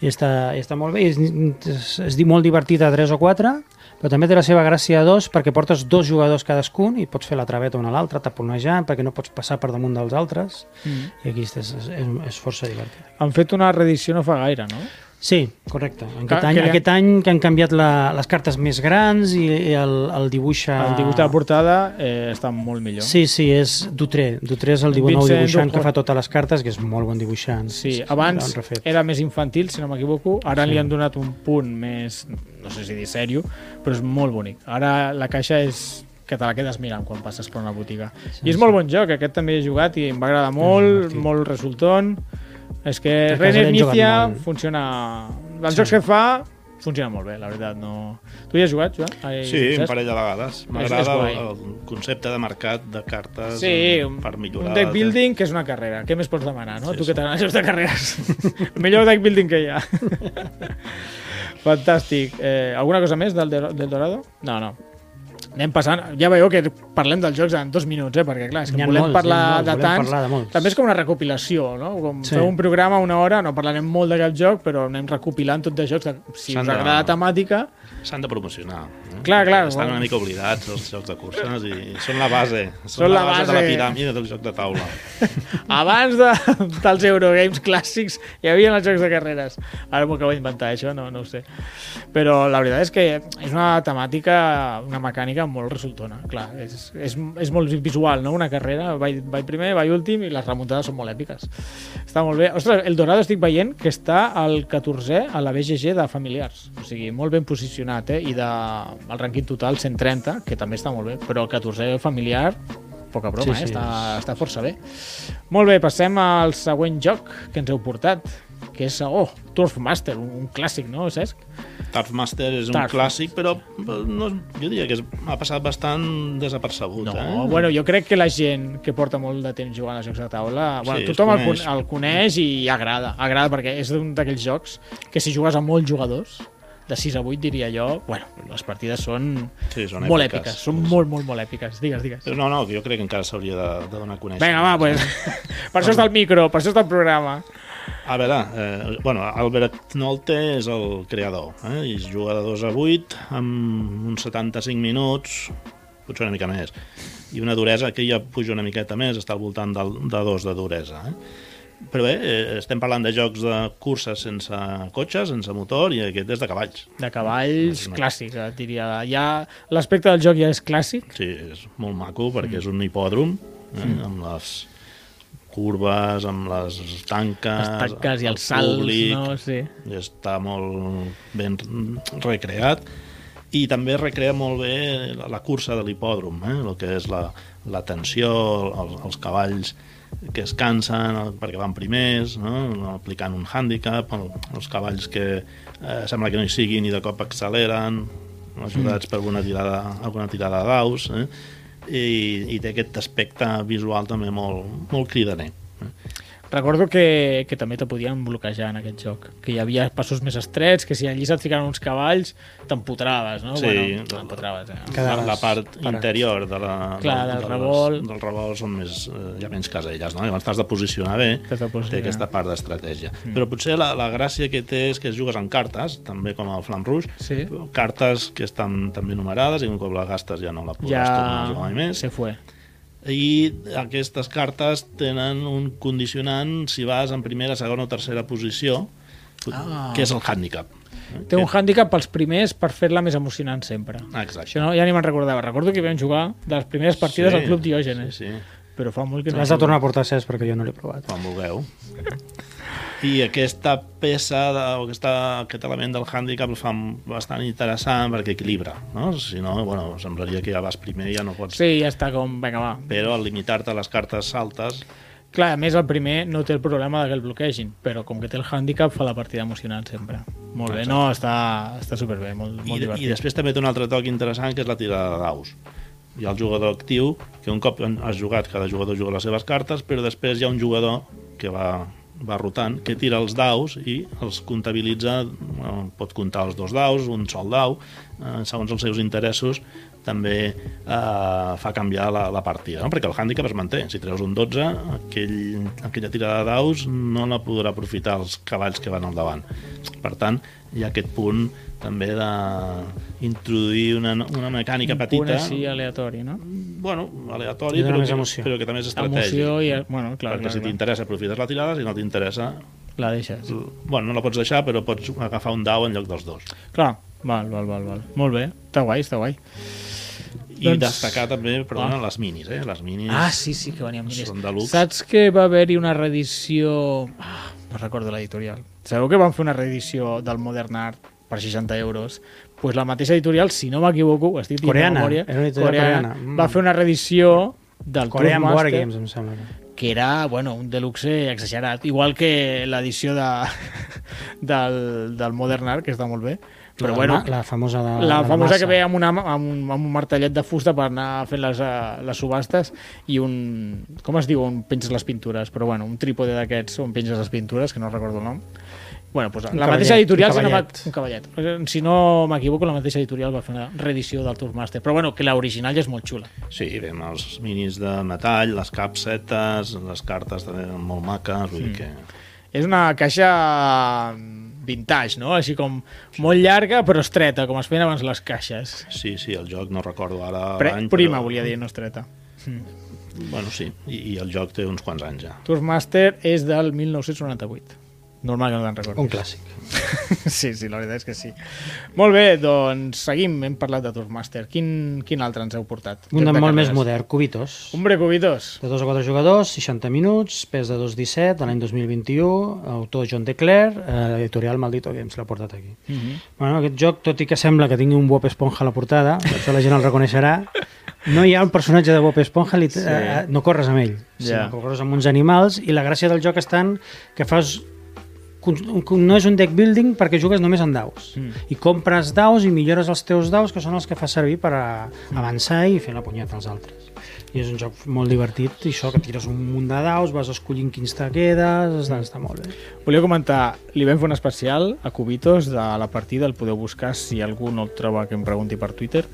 S3: I està, i està molt bé, i és, és, és di- molt divertit a 3 o 4, però també té la seva gràcia a 2 perquè portes dos jugadors cadascun i pots fer la traveta una a l'altra, taponejant, perquè no pots passar per damunt dels altres.
S1: Mm.
S3: I aquí és, és, és, és força divertit.
S1: Han fet una reedició no fa gaire, no?
S3: Sí, correcte. En
S1: Que-
S3: aquest, any,
S1: Ah, que li han-
S3: aquest any que han canviat la, les cartes més grans i, i el, el dibuix... A...
S1: El dibuix de la portada eh, està molt millor.
S3: Ah. Sí, sí, és Dutré. Dutré és el dibu nou
S1: Vincent
S3: dibuixant que
S1: Ducor.
S3: fa totes les cartes, que és molt bon dibuixant.
S1: Sí,
S3: l'han
S1: abans
S3: refet.
S1: era més infantil, si no m'equivoco. Ara li han donat un punt més, no sé si dir sèrio, però és molt bonic. Ara la caixa és que te la quedes mirant quan passes per una botiga. I és molt bon joc, aquest també he jugat i em va agradar molt,
S3: divertit.
S1: molt resultant. És que
S3: A casa
S1: Reiner
S3: l'hem jugat
S1: Inicia
S3: molt.
S1: funciona... Els jocs que fa funciona molt bé, la veritat. No... Tu hi has jugat, Joan? Ai,
S2: Sí,
S1: Francesc?
S2: un parell de vegades.
S1: és
S2: M'agrada
S1: guai.
S2: el, el concepte de mercat de cartes
S1: Sí,
S2: eh,
S1: un,
S2: per millorar.
S1: un deck building que és una carrera. Què més pots demanar, no?
S2: Sí,
S1: tu
S2: sí.
S1: que t'agrada jocs de carreres. El millor deck building que hi ha. Fantàstic. Eh, alguna cosa més del, Dor- del Dorado? No, no. Anem passant. Ja veieu que parlem dels jocs en dos minuts, eh? Perquè, clar, és que
S3: N'hi ha
S1: volem
S3: molts,
S1: parlar
S3: n'hi ha molts,
S1: de
S3: volem
S1: tants.
S3: parlar de molts.
S1: També és com una recopilació, no? Com
S3: Sí.
S1: sí. feu un programa una hora, no parlarem molt de cap joc, però anem recopilant tot de jocs. De, si
S2: S'han
S1: us
S2: de-
S1: agrada la temàtica...
S2: S'han de promocionar. Eh?
S1: Clar, clar.
S2: Estan una mica oblidats els jocs de curses i són la base. Són,
S1: Són la
S2: la base de la
S1: base.
S2: piràmide del joc de taula.
S1: Abans de, dels Eurogames clàssics hi havia els jocs de carreres. Ara m'ho acabo d'inventar, això, no, no ho sé. Però la veritat és que és una temàtica, una mecànica molt resultona. Clar, és, és, és molt visual, no?, una carrera. Vaig, vaig primer, vaig últim i les remuntades són molt èpiques. Està molt bé. Ostres, el Dorado estic veient que està al 14è a la BGG de familiars. O sigui, molt ben posicionat, eh? I de, el rànquing total 130, que també està molt bé. Però el 14è familiar, poca broma,
S3: Sí,
S1: eh?
S3: sí,
S1: està,
S3: és-
S1: està força bé. Molt bé, passem al següent joc que ens heu portat, que és, oh, Turf Master, un, un clàssic, no, Cesc?
S2: Turf Master és un
S1: Turf.
S2: clàssic, però però no, és- jo diria que és- ha passat bastant desapercebut.
S1: No,
S2: eh?
S1: bueno, jo crec que la gent que porta molt de temps jugant a jocs de taula, bueno,
S2: Sí, es
S1: tothom el,
S2: coneix.
S1: con- el coneix i agrada, agrada perquè és un d'aquells jocs que si jugues a molts jugadors, de 6 a 8 diria jo, bueno, les partides són,
S2: Sí, són
S1: molt
S2: èpiques.
S1: èpiques, són molt, molt, molt èpiques. Digues, digues.
S2: Però no, no, jo crec que encara s'hauria de, de donar a conèixer.
S1: Vinga, va, pues. per això està el micro, per això està el programa.
S2: A veure, eh, bueno, Albert Nolte és el creador, eh? i es juga de 2 a 8 amb uns 75 minuts, potser una mica més, i una duresa que ja puja una miqueta més, està al voltant del, de 2 de duresa. Eh? Però bé, eh, estem parlant de jocs de curses sense cotxes, sense motor, i aquest és de cavalls.
S1: De cavalls,
S2: Imagina't.
S1: clàssic, et diria. Ja, L'aspecte del joc ja és clàssic,
S2: Sí, és molt maco
S1: Mm.
S2: perquè és un hipòdrom eh? amb les curves, amb les tanques,
S1: les tanques i
S2: Ah, el
S1: els salts,
S2: públic,
S1: no? Sí.
S2: i està molt ben recreat i també recrea molt bé la, la cursa de l'hipòdrom, eh? el que és la, la tensió, els, els cavalls que es cansen el- perquè van primers, no? aplicant un hàndicap, el, els cavalls que eh, sembla que no hi siguin i de cop acceleren, ajudats per una tirada, alguna tirada de daus, eh? i, i té aquest aspecte visual també molt, molt cridaner. eh?
S1: Recordo que, que també te podien bloquejar en aquest joc, que hi havia passos més estrets, que si allí se't ficaven uns cavalls, t'empotraves, no?
S2: Sí.
S1: bueno, t'empotraves. Eh?
S2: La,
S3: Quedaves
S2: la part
S3: parat.
S2: interior de la,
S1: Clar, del
S2: de,
S1: revolt.
S2: Les, del revolt són més, eh, hi ha menys caselles, no? Llavors t'has de posicionar bé,
S1: T'has de posicionar.
S2: té aquesta part d'estratègia. Mm. Però potser la, la gràcia que té és que jugues amb cartes, també com el Flam Rouge,
S1: Sí.
S2: cartes que estan també numerades i un cop la gastes ja no la podràs ja... tornar a
S1: Ja
S2: jugar mai més.
S1: se fue.
S2: i aquestes cartes tenen un condicionant si vas en primera, segona o tercera posició
S1: Ah.
S2: que és el handicap
S1: Té un hàndicap pels primers per fer-la més emocionant sempre.
S2: Exacte.
S1: Això no, ja ni me'n recordava. Recordo que hi vam jugar de les primeres partides
S2: Sí,
S1: al Club Diògenes,
S2: sí, sí,
S1: però fa molt que no.
S3: L'has de tornar a portar ses perquè jo no l'he provat.
S2: quan vulgueu i aquesta peça de, o aquesta, aquest element del handicap el fa bastant interessant perquè equilibra no? si no, bueno, semblaria que ja vas primer i ja no pots
S1: Sí, ja està com, vinga, va.
S2: però al limitar-te a les cartes saltes
S1: Clar, a més el primer no té el problema de que el bloquegin, però com que té el hàndicap fa la partida emocionant sempre. Molt bé, no, està, està superbé, molt, molt
S2: I, I
S1: divertit.
S2: després també té un altre toc interessant que és la tirada de daus. Hi ha el jugador actiu, que un cop en- has jugat, cada jugador juga les seves cartes, però després hi ha un jugador que va, va rotant, que tira els daus i els comptabilitza, eh, pot comptar els dos daus, un sol dau, eh, segons els seus interessos, també eh, fa canviar la, la partida, no? perquè el hàndicap es manté. Si treus un 12, aquell, aquella tirada de daus no la podrà aprofitar els cavalls que van al davant. Per tant, hi ha aquest punt també d'introduir una, una mecànica
S1: Un punt
S2: petita,
S1: així eh. aleatori, no?
S2: bueno,
S3: Li
S2: aleatori,
S3: dona
S2: però
S3: més
S2: que,
S3: emoció.
S2: però que també és estratègic.
S1: Emoció i... Bueno, clar,
S2: perquè
S1: clar,
S2: si
S1: clar.
S2: t'interessa aprofites la tirada, si no t'interessa
S1: La deixes.
S2: bueno, no la pots deixar, però pots agafar un dau en lloc dels dos.
S1: Clar, val, val, val, val. Molt bé, està guai, està guai.
S2: I
S1: Doncs-
S2: destacar també, perdona, les minis, eh? Les minis...
S1: Ah, sí, sí, que venien minis.
S2: Són de luxe.
S1: Saps que va haver-hi una reedició... Ah, no recordo l'editorial. Sabeu que van fer una reedició del Modern Art per 60 euros? Doncs pues la mateixa editorial, si no m'equivoco, ho estic dient
S3: Coreana,
S1: de memòria,
S3: era una editorial coreana. Mm.
S1: va fer una reedició del
S3: Corean
S1: Club
S3: War
S1: Master,
S3: Games, em sembla. que.
S1: que era bueno, un deluxe exagerat, igual que l'edició de, del, del Modern Art, que està molt bé, però
S3: la,
S1: bueno,
S3: ma- la famosa de,
S1: la
S3: de
S1: famosa
S3: massa.
S1: que ve amb, una, amb, un, amb un martellet de fusta per anar fent les, eh, les subhastes i un... com es diu on penges les pintures? Però bueno, un trípode d'aquests on penges les pintures, que no recordo el nom. Bueno, pues, la
S3: cavallet,
S1: mateixa editorial...
S3: un
S1: se n'ha
S3: cavallet.
S1: mat- Un cavallet. Eh, Si no m'equivoco, la mateixa editorial va fer una reedició del Tourmaster. Però bueno, que l'original ja és molt xula.
S2: Sí, vem els minis de metall, les capsetes, les cartes també molt maques, vull dir
S1: Mm.
S2: que...
S1: És una caixa mm, vintage, no? Així com molt llarga però estreta, com es feien abans les caixes.
S2: Sí, sí, el joc no recordo ara
S1: Pre
S2: l'any,
S1: prima,
S2: però...
S1: volia dir, no estreta.
S2: Bueno, sí, i, i el joc té uns quants anys ja.
S1: Tourmaster és del 1998. Normal que no te'n recordis.
S3: Un clàssic.
S1: Sí, sí, la veritat és que sí. Molt bé, doncs seguim. Hem parlat de Tourmaster. Quin, quin altre ens heu portat?
S3: Un de
S1: Aquest
S3: molt més
S1: carreres.
S3: modern, Cubitos.
S1: Hombre, cubitos.
S3: De 2 a 4 jugadors, 60 minuts, pes de 2,17, de l'any 2021, autor John DeClair, eh, editorial Maldito Games, l'ha portat aquí.
S1: Mm -hmm.
S3: Bueno, aquest joc, tot i que sembla que tingui un Bob Esponja a la portada, per això la gent el reconeixerà, no hi ha un personatge de Bob Esponja, li... sí. eh, no corres amb ell,
S1: Ja.
S3: yeah. sinó que corres amb uns animals, i la gràcia del joc està en que fas no és un deck building perquè jugues només amb daus
S1: Mm.
S3: i compres daus i millores els teus daus que són els que fas servir per a
S1: Mm.
S3: avançar i fer la punyeta als altres i és un joc molt divertit i això que tires un munt de daus, vas escollint quins te quedes
S1: Mm.
S3: està, està molt bé
S1: Volia comentar, li vam fer un especial a Cubitos de la partida, el podeu buscar si algú no el troba que em pregunti per Twitter,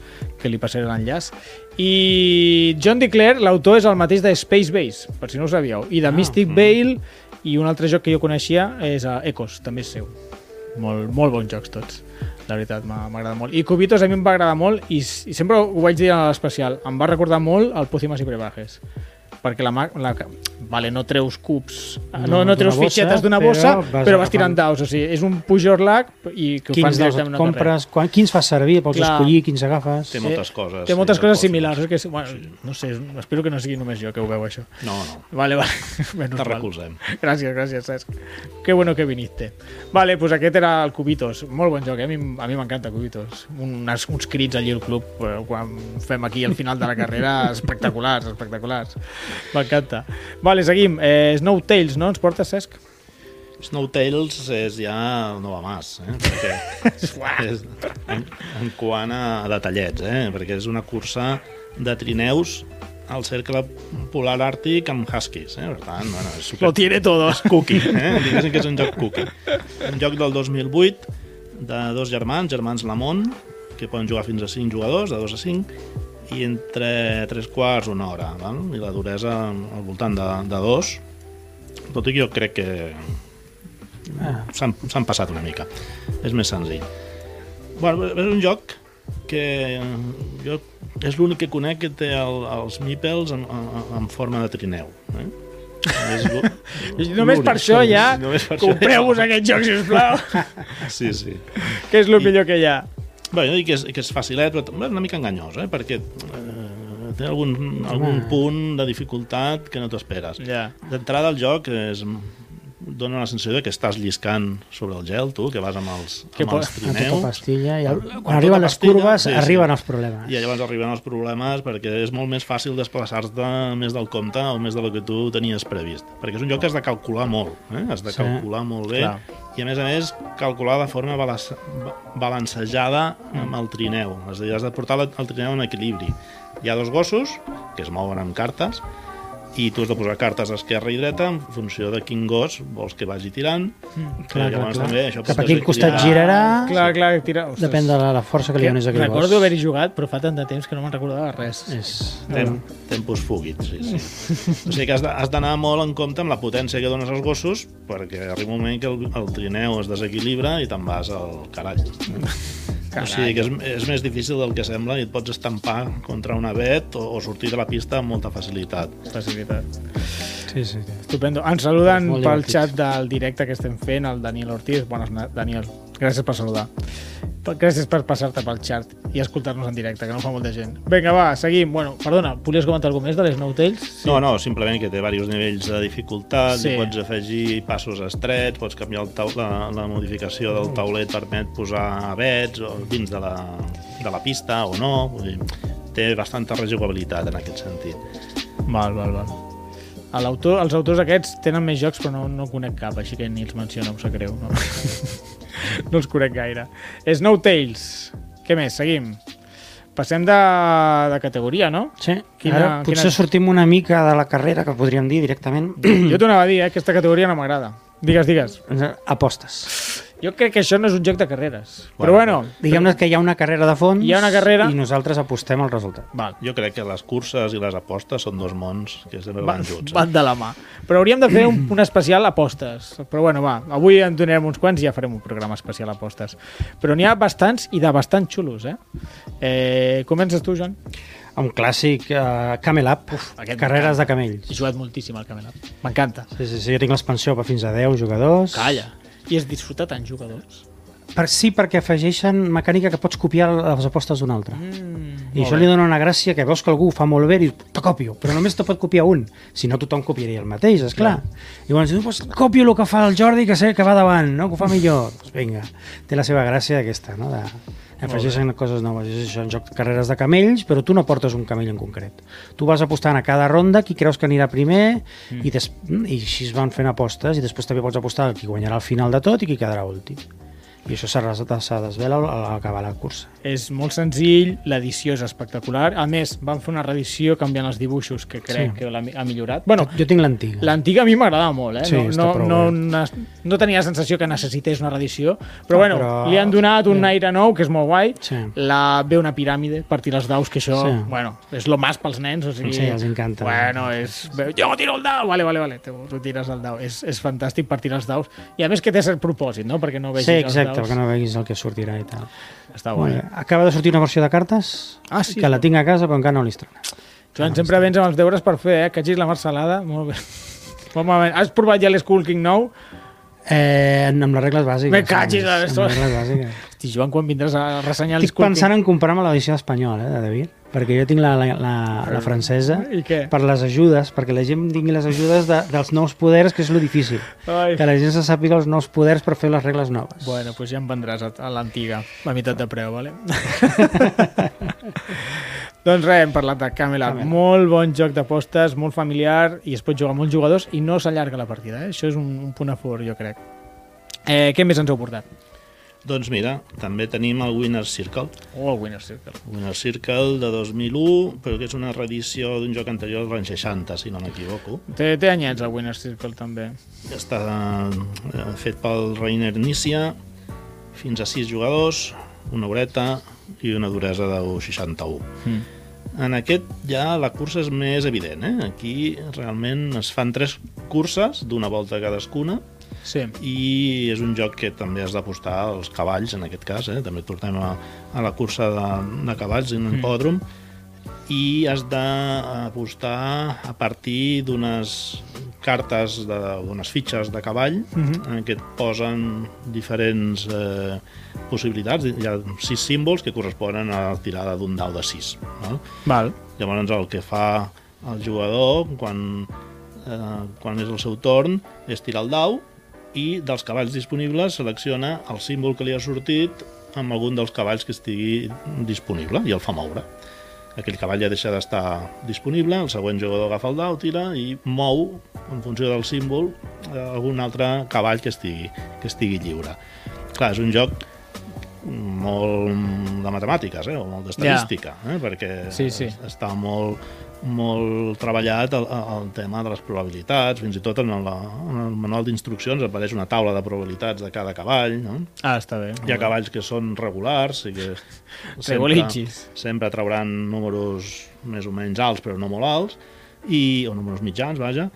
S1: que li passaré l'enllaç. I John DeClair, l'autor és el mateix de Space Base, per si no ho sabíeu, i de Mystic Veil, i un altre joc que jo coneixia és eh, Ecos, també és seu. Molt, molt bons jocs tots. La veritat, m'ha m'ha agradat molt. I Cubitos a mi em va agradar molt i, s- i sempre ho vaig dir a l'especial. Em va recordar molt el Pocimas i Prebajes. Perquè la, mà- la... Vale, no treus cubs, no, no,
S3: d'una
S1: treus
S3: bossa,
S1: fitxetes d'una
S3: però
S1: bossa, però vas,
S3: vas
S1: però vas
S3: agafant.
S1: tirant daus. O sigui, és un pujorlac i que ho
S3: quins
S1: fas
S3: daus
S1: directament
S3: et
S1: al
S3: compres, quan, quins fas servir, pots
S1: Clar.
S3: escollir, quins agafes
S2: Té moltes coses.
S1: carrer. Té moltes
S2: sí,
S1: coses
S2: del
S1: similars.
S2: Cosmos.
S1: És que, és- bueno, no sé, és- espero que no sigui només jo que ho veu, això.
S2: No, no,
S1: Vale, vale. Menys
S2: te
S1: mal.
S2: recolzem.
S1: Gràcies, gràcies, Cesc. Que bueno que viniste. Vale, pues aquest era el Cubitos. Molt bon joc, eh? A mi a mi m'encanta Cubitos. Unes, uns crits allí al club eh, quan fem aquí al final de la carrera espectaculars, espectaculars. M'encanta. Vale, seguim. Eh, Snow Tales, no? Ens porta Cesc?
S2: Snowtails és ja no va mas, eh? perquè és, en, en quant a detallets, eh? perquè és una cursa de trineus al cercle polar àrtic amb huskies, eh? Per tant, bueno, és super...
S1: Lo tiene todo.
S2: És cookie, eh? Diguéssim que és un joc cookie. Un joc del 2008 de dos germans, germans Lamont, que poden jugar fins a 5 jugadors, de 2 a 5, i entre 3 quarts una hora, val? i la duresa al voltant de, de 2, tot i que jo crec que
S3: Ah.
S2: s'han s'han passat una mica. És més senzill. Bueno, és un joc que jo és l'únic que conec que té el, els meeples en, en, en forma de trineu. Eh? És lo-
S1: Només per això
S2: l'únic.
S1: ja
S2: Només per això ja.
S1: compreu-vos aquest joc, sisplau,
S2: Sí, sí.
S1: que és el millor que hi ha.
S2: Bé, jo dic que és, que és facilet, però també és una mica enganyós, eh? perquè eh, té algun, algun punt de dificultat que no t'esperes.
S1: Ah. Ja.
S2: D'entrada al joc és dona la sensació de que estàs lliscant sobre el gel, tu, que vas amb els,
S1: Que
S2: amb
S1: po-
S3: A
S2: els
S3: tota
S2: trineus,
S3: pastilla. I el,
S2: A
S3: quan
S2: tota
S3: arriben les
S2: pastilla,
S3: curves,
S2: sí, sí.
S3: arriben els problemes.
S2: i llavors arriben els problemes perquè és molt més fàcil desplaçar-te més del compte o més del que tu tenies previst. Perquè és un joc que has de calcular molt, eh? has de
S3: Sí,
S2: calcular molt bé
S1: clar.
S2: i a més a més calcular de forma balas- ba- balancejada amb el trineu. És a dir, has de portar el trineu en equilibri. Hi ha dos gossos que es mouen amb cartes i tu has de posar cartes a esquerra i dreta en funció de quin gos vols que vagi tirant. Mm,
S3: clar, clar, clar. Cap a quin costat girarà,
S1: Ah, Clar, clar, tira... Ostres.
S3: depèn de la, la força que li donis a aquell
S1: Recordo
S3: gos.
S1: haver-hi jugat, però fa tant de temps que no me'n recordava res.
S3: És...
S2: Tem, tempos fugits, sí, sí. O sigui que has de- has d'anar molt en compte amb la potència que dones als gossos perquè arriba un moment que el, el trineu es desequilibra i te'n vas al carall. O sigui que és, és més difícil del que sembla i et pots estampar contra una vet o, o sortir de la pista amb molta facilitat.
S1: Facilitat.
S3: Sí, sí, sí.
S1: Estupendo. Ens saluden
S3: Molt
S1: pel
S3: divertit.
S1: xat del directe que estem fent, el Daniel Ortiz. Bones, na- Daniel. Gràcies per saludar. Per- Gràcies per passar-te pel xat i escoltar-nos en directe, que no fa molta gent. Vinga, va, seguim. Bueno, perdona, volies comentar alguna més de les Nou Tales?
S2: Sí. No, no, simplement que té diversos nivells de dificultat,
S1: Sí.
S2: sí. pots afegir passos estrets, pots canviar el taul, la, la modificació del taulet permet posar vets o dins de la, de la pista o no, vull dir, té bastanta rejugabilitat en aquest sentit.
S1: Val, val, val. L'autor, els autors aquests tenen més jocs, però no, no conec cap, així que ni els menciono, em sap greu. No, no els conec gaire. Snow Tales. Què més? Seguim. Passem de, de categoria, no?
S3: sí.
S1: Quina-
S3: Ara potser
S1: quina-
S3: sortim una mica de la carrera, que podríem dir directament,
S1: Jo t'ho anava a dir, eh? aquesta categoria no m'agrada. Digues, digues.
S3: apostes.
S1: Jo crec que això no és un joc de carreres. Però bueno,
S3: Diguem-ne que hi ha una carrera de fons
S1: Hi ha una carrera.
S3: i nosaltres apostem al resultat.
S1: val.
S2: Jo crec que les curses i les apostes són dos mons que sempre
S1: Va,
S2: van junts. Eh?
S1: van de la mà. Però hauríem de fer un, un especial apostes. Però bueno, va, avui en donarem uns quants i ja farem un programa especial apostes. Però n'hi ha bastants i de bastant xulos, eh? eh comences tu, Joan?
S3: Un clàssic uh, Camel Up, Uf,
S1: aquest
S3: carreres
S1: m'encanta.
S3: de camells.
S1: He jugat moltíssim al Camelot. M'encanta.
S3: Sí, sí, sí, jo tinc l'expansió per fins a 10 jugadors.
S1: Calla. I has disfrutat en jugadors.
S3: Per, sí, perquè afegeixen mecànica que pots copiar les apostes d'un altre.
S1: Mm,
S3: I això li dona una gràcia que veus que algú ho fa molt bé i dius, te copio, però només te pot copiar un. Si no, tothom copiaria el mateix, és clar. I llavors dius, pues, copio el que fa el Jordi, que sé que va davant, no? que ho fa millor. Doncs vinga, té la seva gràcia aquesta, no? De... Afegeixen coses noves. És això, un joc de carreres de camells, però tu no portes un camell en concret. Tu vas apostant a cada ronda qui creus que anirà primer mm. i, des... i així es van fent apostes i després també pots apostar a qui guanyarà al final de tot i qui quedarà últim. I això s'ha res- s'ha desvela a acabar la cursa.
S1: És molt senzill, l'edició és espectacular. A més, van fer una reedició canviant els dibuixos, que crec
S3: Sí.
S1: que l'ha mi- ha millorat. Bueno,
S3: Jo tinc l'antiga.
S1: L'antiga a mi m'agradava molt, eh?
S3: Sí, està
S1: no,
S3: prou
S1: no,
S3: bé.
S1: no, no, no tenia la sensació que necessités una reedició, però
S3: No,
S1: bueno, però...
S3: però-
S1: li han donat un aire nou, que és molt guai.
S3: Sí.
S1: La, ve una piràmide, partir els daus, que això, sí.
S3: Sí.
S1: bueno, és lo más pels nens, o sigui...
S3: Sí, els encanta.
S1: Bueno, és... ve, Jo tiro el dau! Vale, vale, vale, tu, tu tires el dau. És, és fantàstic partir els daus. I a més que té cert propòsit, no? Perquè no vegis
S3: Sí, exacte,
S1: els
S3: perquè
S1: daus.
S3: no veguis el que sortirà i tal.
S1: No... Està
S3: Molt
S1: guai.
S3: bé. Acaba de sortir una versió de cartes
S1: Ah, sí,
S3: que la tinc a casa però encara no l'estrena.
S1: Joan, sempre vens amb els deures per fer, eh? Que hagis la marcelada. Molt bé. Home, has provat ja l'School King nou?
S3: Eh, amb les regles bàsiques.
S1: Me cachis,
S3: amb les- amb les
S1: això.
S3: regles bàsiques.
S1: Hosti, Joan, quan vindràs a ressenyar
S3: Estic
S1: l'School King?
S3: pensant en comprar-me l'edició espanyola, eh, de David, perquè jo tinc la, la, la, la francesa
S1: I què?
S3: per les ajudes, perquè la gent tingui les ajudes de, dels nous poders, que és lo difícil.
S1: Ai.
S3: Que la gent se sàpiga els nous poders per fer les regles noves.
S1: Bueno, pues ja em vendràs a, a l'antiga, a meitat de preu, vale? doncs res, hem parlat de Camelot.
S3: Camelot.
S1: Molt bon joc d'apostes, molt familiar, i es pot jugar amb molts jugadors i no s'allarga la partida, eh? Això és un, un punt a favor, jo crec. Eh, què més ens heu portat?
S2: Doncs mira, també tenim el Winner's Circle.
S1: O Oh, el Winner Circle.
S2: Winner's Circle de 2001, però que és una reedició d'un joc anterior dels anys 60, si no m'equivoco.
S1: Té, té anyets el Winner Circle també.
S2: Està eh, fet pel Rainer Nícia, fins a 6 jugadors, una horeta i una duresa de 61.
S1: Mm.
S2: En aquest ja la cursa és més evident, eh? Aquí realment es fan tres curses d'una volta cadascuna,
S1: Sí.
S2: i és un joc que també has d'apostar als cavalls, en aquest cas, eh? també tornem a, a la cursa de, de cavalls en un hipòdrom, i has d'apostar a partir d'unes cartes, de- d'unes fitxes de cavall, en què et posen diferents eh, possibilitats, hi ha sis símbols que corresponen a la tirada d'un dau de sis. Val?
S1: Val.
S2: Llavors el que fa el jugador quan, eh, quan és el seu torn és tirar el dau i dels cavalls disponibles selecciona el símbol que li ha sortit amb algun dels cavalls que estigui disponible i el fa moure. Aquell cavall ja deixa d'estar disponible, el següent jugador agafa el dau, tira i mou, en funció del símbol, eh, algun altre cavall que estigui, que estigui lliure. Clar, és un joc molt de matemàtiques, eh? o molt d'estadística, eh? perquè
S1: Sí, sí.
S2: es- està molt, molt treballat el, el tema de les probabilitats, fins i tot en, la, en el manual d'instruccions apareix una taula de probabilitats de cada cavall, no?
S1: Ah, està bé.
S2: Hi ha cavalls que són regulars i que sempre,
S1: Regulitxis.
S2: sempre trauran números més o menys alts, però no molt alts, i, o números mitjans, vaja,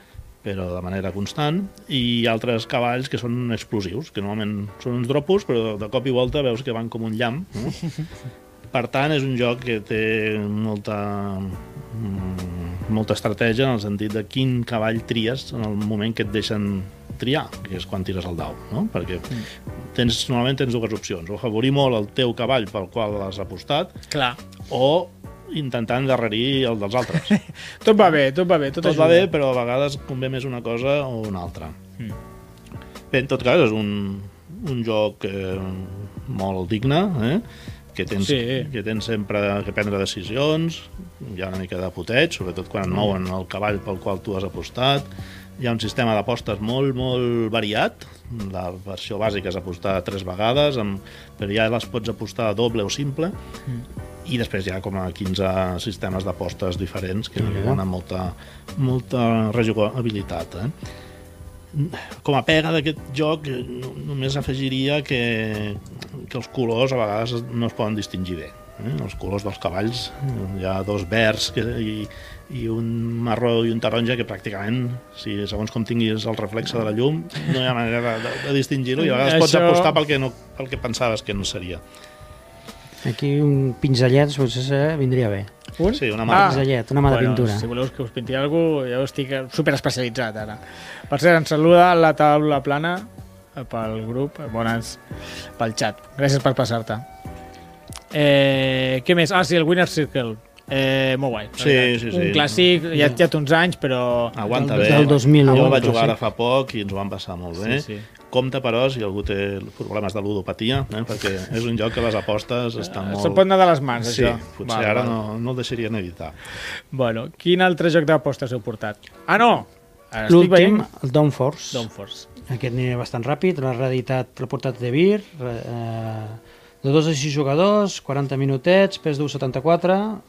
S2: però de manera constant, i altres cavalls que són explosius, que normalment són uns dropos, però de cop i volta veus que van com un llamp. No? Per tant, és un joc que té molta, mm, molta estratègia en el sentit de quin cavall tries en el moment que et deixen triar, que és quan tires el dau, no? Perquè tens, normalment tens dues opcions, o afavorir molt el teu cavall pel qual has apostat,
S1: Clar.
S2: o intentar endarrerir el dels altres.
S1: Tot va bé, tot va bé. Tot,
S2: Tot va
S1: ajuda.
S2: bé, però a vegades convé més una cosa o una altra.
S1: Mm.
S2: Bé, en tot cas, és un, un joc eh, molt digne, eh? que tens,
S1: Sí.
S2: que tens sempre que prendre decisions, hi ha una mica de puteig, sobretot quan
S1: Mm.
S2: et mouen el cavall pel qual tu has apostat, hi ha un sistema d'apostes molt, molt variat, la versió bàsica és apostar tres vegades, amb, però ja les pots apostar doble o simple, i després hi ha com a 15 sistemes d'apostes diferents que li donen molta, molta rejugabilitat. Eh? Com a pega d'aquest joc, no- només afegiria que, que els colors a vegades no es poden distingir bé. Eh? Els colors dels cavalls, hi ha dos verds que, i, i un marró i un taronja que pràcticament, si segons com tinguis el reflexe de la llum, no hi ha manera de, de, de distingir-ho i a vegades pots
S1: Això-
S2: apostar pel que, no, pel que pensaves que no seria.
S3: Aquí un pinzellet potser se- vindria bé.
S1: Un?
S2: Sí, una
S1: Ah.
S2: marca.
S3: Pinzellet, una mà de pintura.
S1: Si voleu que us pinti alguna cosa, jo estic super especialitzat ara. Per cert, ens saluda la taula plana eh, pel grup, eh, bones pel chat. Gràcies per passar-te. Eh, què més? Ah, sí, el Winner Circle. Eh, molt guai. la
S2: Sí,
S1: veritat.
S2: sí,
S1: Un
S2: sí.
S1: clàssic, ja, ja té uns anys, però...
S2: Aguanta
S3: Del-
S2: bé.
S3: del 2000
S2: Jo el vaig
S3: aguanta,
S2: jugar
S3: sí.
S2: ara fa poc i ens ho vam passar molt bé.
S1: Sí, sí.
S2: Compte, però, si algú té problemes de ludopatia, eh? perquè és un joc que les apostes estan
S1: Molt...
S2: molt...
S1: Se Eh, pot anar de les mans,
S2: Sí,
S1: això.
S2: potser
S1: Val,
S2: ara
S1: val.
S2: No, no el deixarien evitar.
S1: Bueno, quin altre joc d'apostes heu portat? Ah, no! Ara estic
S3: L'últim,
S1: veient
S3: el Downforce.
S1: Downforce.
S3: Aquest anirà bastant ràpid, l'ha reeditat, l'ha portat de Vir, re- eh, de 2 a 6 jugadors, 40 minutets, pes 1,74,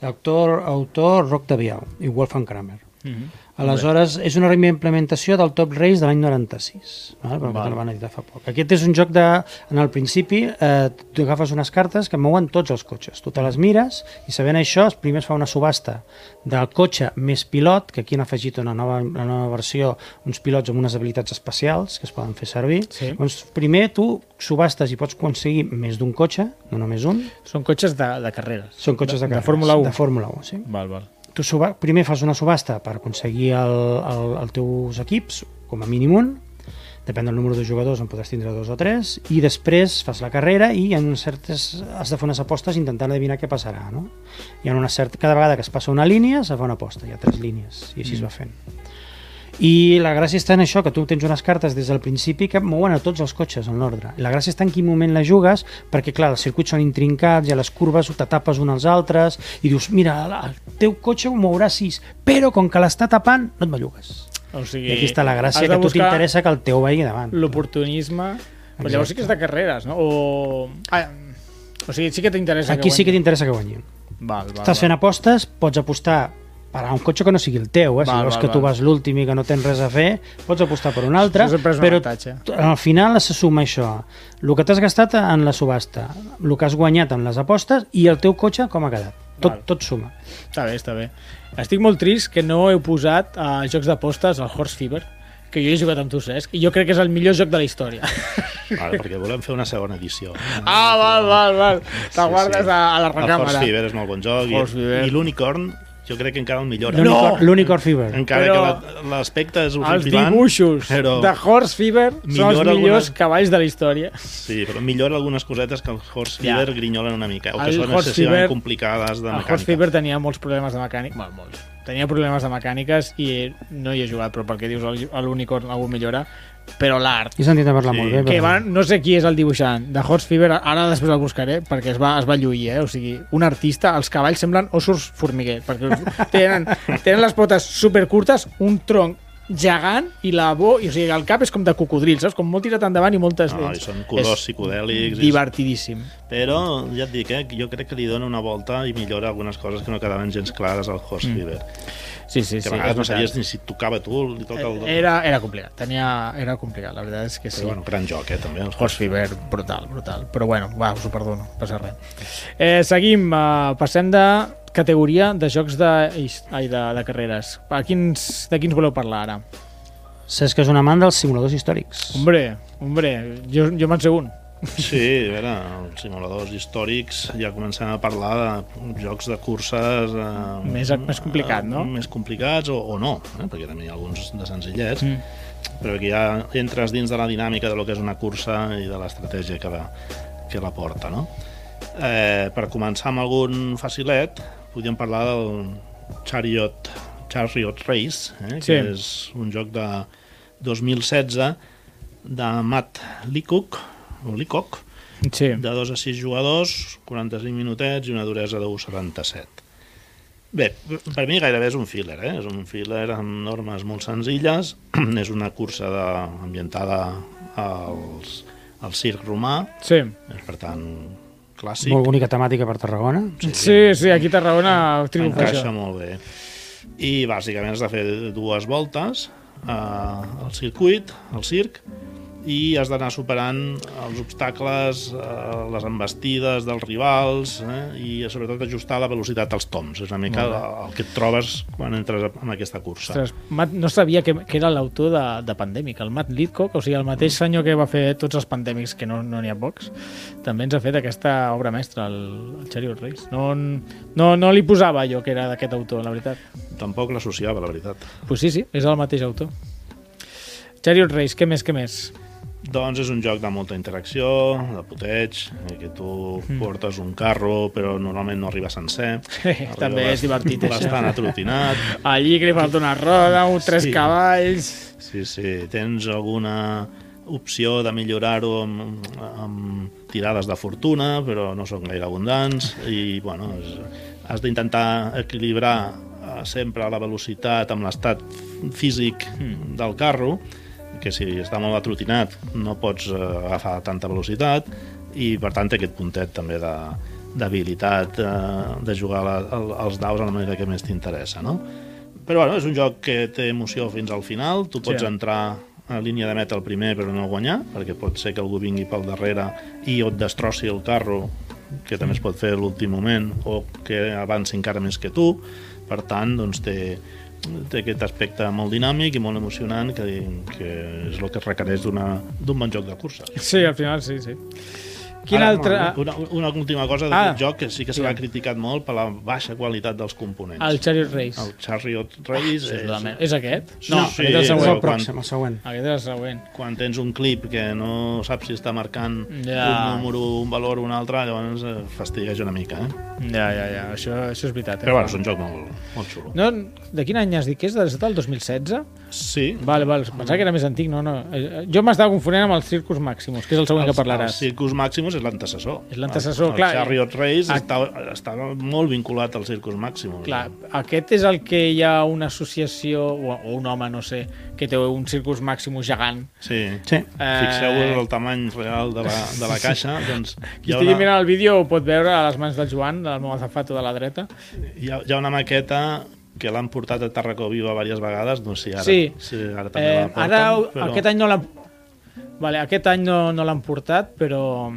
S3: autor, autor Roc Daviau i Wolfgang Kramer.
S1: Mm -hmm.
S3: Aleshores, és una reimplementació del Top Race de l'any 96, val? però
S1: Val.
S3: que el van editar fa poc. Aquest és un joc de... En el principi, eh, tu agafes unes cartes que mouen tots els cotxes. Tu te les mires i sabent això, primer es fa una subhasta del cotxe més pilot, que aquí han afegit una nova, una nova versió, uns pilots amb unes habilitats especials que es poden fer servir.
S1: Sí.
S3: Doncs primer tu subhastes i pots aconseguir més d'un cotxe, no només un.
S1: Són cotxes de, de carreres.
S3: Són cotxes de,
S1: de
S3: carreres,
S1: Fórmula 1.
S3: De Fórmula 1, sí
S1: Val, val.
S3: tu suba, primer fas una subhasta per aconseguir el, el, els teus equips, com a mínim un, depèn del número de jugadors, en podràs tindre dos o tres, i després fas la carrera i en unes certes, has de fer unes apostes intentant adivinar què passarà. No? I en una certa, cada vegada que es passa una línia se fa una aposta, hi ha tres línies, i així mm. es va fent. I la gràcia està en això, que tu tens unes cartes des del principi que mouen a tots els cotxes en l'ordre. La gràcia està en quin moment les jugues, perquè clar, els circuits són intrincats i a les curves ho te tapes un als altres i dius, mira, la- el teu cotxe ho mourà sis, però com que l'està tapant, no et bellugues.
S1: O sigui,
S3: I aquí està la gràcia,
S1: has de
S3: que a tu
S1: buscar
S3: t'interessa que el teu vagi davant.
S1: L'oportunisme Però llavors sí que és de carreres, no? O, ah, o sigui, sí que t'interessa
S3: Aquí sí que t'interessa que guanyi.
S2: Val, val,
S3: Estàs fent apostes, pots apostar per a un cotxe que no sigui el teu, eh? si
S1: Val,
S3: veus
S1: val,
S3: que tu
S1: val.
S3: vas l'últim i que no tens res a fer, pots apostar per un altre,
S1: Això sempre és un
S3: però
S1: avantatge.
S3: t- al final se suma això, el que t'has gastat en la subhasta, el que has guanyat en les apostes i el teu cotxe com ha quedat. Tot,
S1: Val.
S3: tot suma.
S1: Està bé, està bé. Estic molt trist que no heu posat a jocs d'apostes al Horse Fever, que jo he jugat amb tu, Cesc, i jo crec que és el millor joc de la història.
S2: Vale, perquè volem fer una segona edició.
S1: Ah, val, val, val. Te guardes sí. a, a la
S2: El Force
S1: recàmera.
S2: Fever és molt bon joc
S1: Force
S2: i,
S1: Fever.
S2: i l'Unicorn jo crec que encara el millora.
S3: L'Unicorn- L'Unicorn Fever.
S2: Encara
S1: Però-
S2: que la- l'aspecte és
S1: Els
S2: horripilant,
S1: dibuixos
S2: però,
S1: de Horse Fever són els
S2: millora
S1: millors
S2: algunes-
S1: cavalls de la història.
S2: sí, però millora algunes cosetes que el Horse
S1: Ja.
S2: Fever grinyolen una mica, o que
S1: El
S2: són
S1: Horse
S2: excessivament
S1: Fever-
S2: complicades de
S1: El
S2: mecànica.
S1: Horse Fever tenia molts problemes de mecànic, bueno, molts. Tenia problemes de mecàniques i no hi he jugat, però perquè dius el- a l'Unicorn algú millora, però l'art
S3: He sentit a parlar
S2: Sí.
S3: molt bé.
S1: que
S3: però-
S1: va, no sé qui és el dibuixant de Horse Fever, ara després el buscaré perquè es va, es va lluir, eh? o sigui, un artista els cavalls semblen ossos formiguer perquè tenen, tenen les potes supercurtes un tronc gegant i la bo, i, o sigui, el cap és com de cocodril saps? com molt tirat endavant i moltes
S2: No, Ah, i
S1: dents
S2: són colors
S1: És
S2: psicodèlics. i-
S1: divertidíssim
S2: Però ja et dic, eh, jo crec que li dona una volta i millora algunes coses que no quedaven gens clares al Horse Fever.
S1: Mm. sí, sí,
S2: Que
S1: sí,
S2: a vegades
S1: és
S2: no
S1: veritat.
S2: sabies ni si et tocava a tu, li toca el...
S1: Eh, era, era complicat, tenia, era complicat, la veritat és que sí.
S2: Però, bueno, gran joc, eh, també. El Horse
S1: Horse Fever, brutal, brutal. Però bueno, va, us ho perdono, no passa res. Eh, seguim, eh, passem de categoria de jocs de, his- ai, de, de carreres. A quins, de quins voleu parlar ara?
S3: Saps que és un amant dels simuladors històrics.
S1: Hombre, hombre, jo, jo me'n sé un.
S2: Sí, a veure, els simuladors històrics ja comencem a parlar de jocs de curses... Eh,
S1: Més- més complicat, no?
S2: Eh, més complicats o, o no, eh, perquè també hi ha alguns de senzillets,
S1: Mm.
S2: però que ja entres dins de la dinàmica de lo que és una cursa i de l'estratègia que, la, que la porta, no? Eh, per començar amb algun facilet, podríem parlar del Chariot, Chariot Race, eh,
S1: Sí.
S2: que és un joc de 2016 de Matt Leacock, o Leacock,
S1: Sí,
S2: de 2 a 6 jugadors, 45 minutets i una duresa de 1,77. Bé, per mi gairebé és un filler, eh? és un filler amb normes molt senzilles, és una cursa de, ambientada als, al circ romà,
S1: sí.
S2: és, per tant, clàssic,
S3: Molt bonica temàtica per Tarragona.
S1: Sí, sí, aquí a Tarragona triomfa
S2: encaixa
S1: això.
S2: molt bé. I bàsicament has de fer dues voltes eh, al circuit, al circ, i has d'anar superant els obstacles, eh, les embestides dels rivals eh, i sobretot ajustar la velocitat als toms. És una mica el, el que et trobes quan entres en aquesta cursa.
S1: Ostres, Matt, no sabia que, que era l'autor de, de Pandemic, el Matt Lidcock, o sigui, el mateix senyor que va fer tots els Pandemics, que no no n'hi ha pocs, també ens ha fet aquesta obra mestra, el, el Chariot Reis. No, no, no li posava jo que era d'aquest autor, la veritat.
S2: Tampoc l'associava, la veritat.
S1: Pues sí, sí, és el mateix autor. Chariot Reis, què més, què més?
S2: Doncs és un joc de molta interacció, de puteig, eh, que tu
S1: Hmm.
S2: portes un carro però normalment no arriba sencer. Arriba
S1: També és
S2: bast-
S1: divertit, això.
S2: Bastant atrotinat.
S1: Allí que li falta una roda, un tres
S2: Sí.
S1: cavalls...
S2: Sí, sí. Tens alguna opció de millorar-ho amb, amb tirades de fortuna, però no són gaire abundants i, bueno, és, has d'intentar equilibrar eh, sempre la velocitat amb l'estat físic del carro, que si està molt atrotinat no pots eh, agafar tanta velocitat i, per tant, té aquest puntet també de d'habilitat eh, de jugar la, el, els daus a la manera que més t'interessa, no? Però bueno, és un joc que té emoció fins al final. Tu pots
S1: Sí.
S2: entrar a línia de meta el primer però no guanyar, perquè pot ser que algú vingui pel darrere i o et destrossi el carro, que també es pot fer a l'últim moment, o que avanci encara més que tu. Per tant, doncs té, té aquest aspecte molt dinàmic i molt emocionant que, que és el que es requereix d'una- d'un bon joc de cursa.
S1: Sí, al final sí, sí. Quin
S2: Ara,
S1: altre...
S2: Una, una última cosa
S1: Ah.
S2: d'aquest joc que sí que se l'ha
S1: Digue'm.
S2: criticat molt per la baixa qualitat dels components.
S1: El Ah, Chariot Reis.
S2: el Chariot Race és,
S1: És aquest?
S2: Sí,
S1: no, aquest
S2: sí,
S1: és el
S3: És
S1: següent.
S3: el
S2: Bueno,
S3: pròxim, el següent.
S1: Aquest és el següent.
S2: quan tens un clip que no saps si està marcant
S1: Ja.
S2: yeah. un número, un valor o un altre, llavors eh, fastigueix una mica, eh?
S1: Ja, ja, ja, això, això és veritat. Eh?
S2: Però bueno, és un joc molt, molt xulo.
S1: No, de quin any has dit que és? Des del 2016?
S2: Sí.
S1: Val, val, pensava que era més antic, no, no. Eh, eh, Jo m'estava confonent amb el Circus Maximus, que és el següent que
S2: El
S1: parlaràs.
S2: Circus Maximus és l'antecessor.
S1: És l'antecessor,
S2: El-
S1: clar.
S2: El Chariot Race
S1: Ah.
S2: està, està molt vinculat al Circus Maximus. eh?
S1: Clar, aquest és el que hi ha una associació, o, o un home, no sé, que té un Circus Maximus gegant.
S2: Sí.
S3: Sí.
S1: Eh,
S2: Fixeu-vos en el tamany real de la, de la caixa. Doncs
S1: Qui
S2: hi ha,
S1: estigui
S2: una,
S1: mirant el vídeo ho pot veure a les mans del Joan, del meu azafato de la dreta.
S2: hi, ha, hi ha una maqueta que l'han portat a Tarracó Viva diverses vegades, no sé si ara,
S1: Sí.
S2: si ara també
S1: Eh,
S2: la porten.
S1: ara, aquest any no l'han... Vale, aquest any no, no l'han portat, però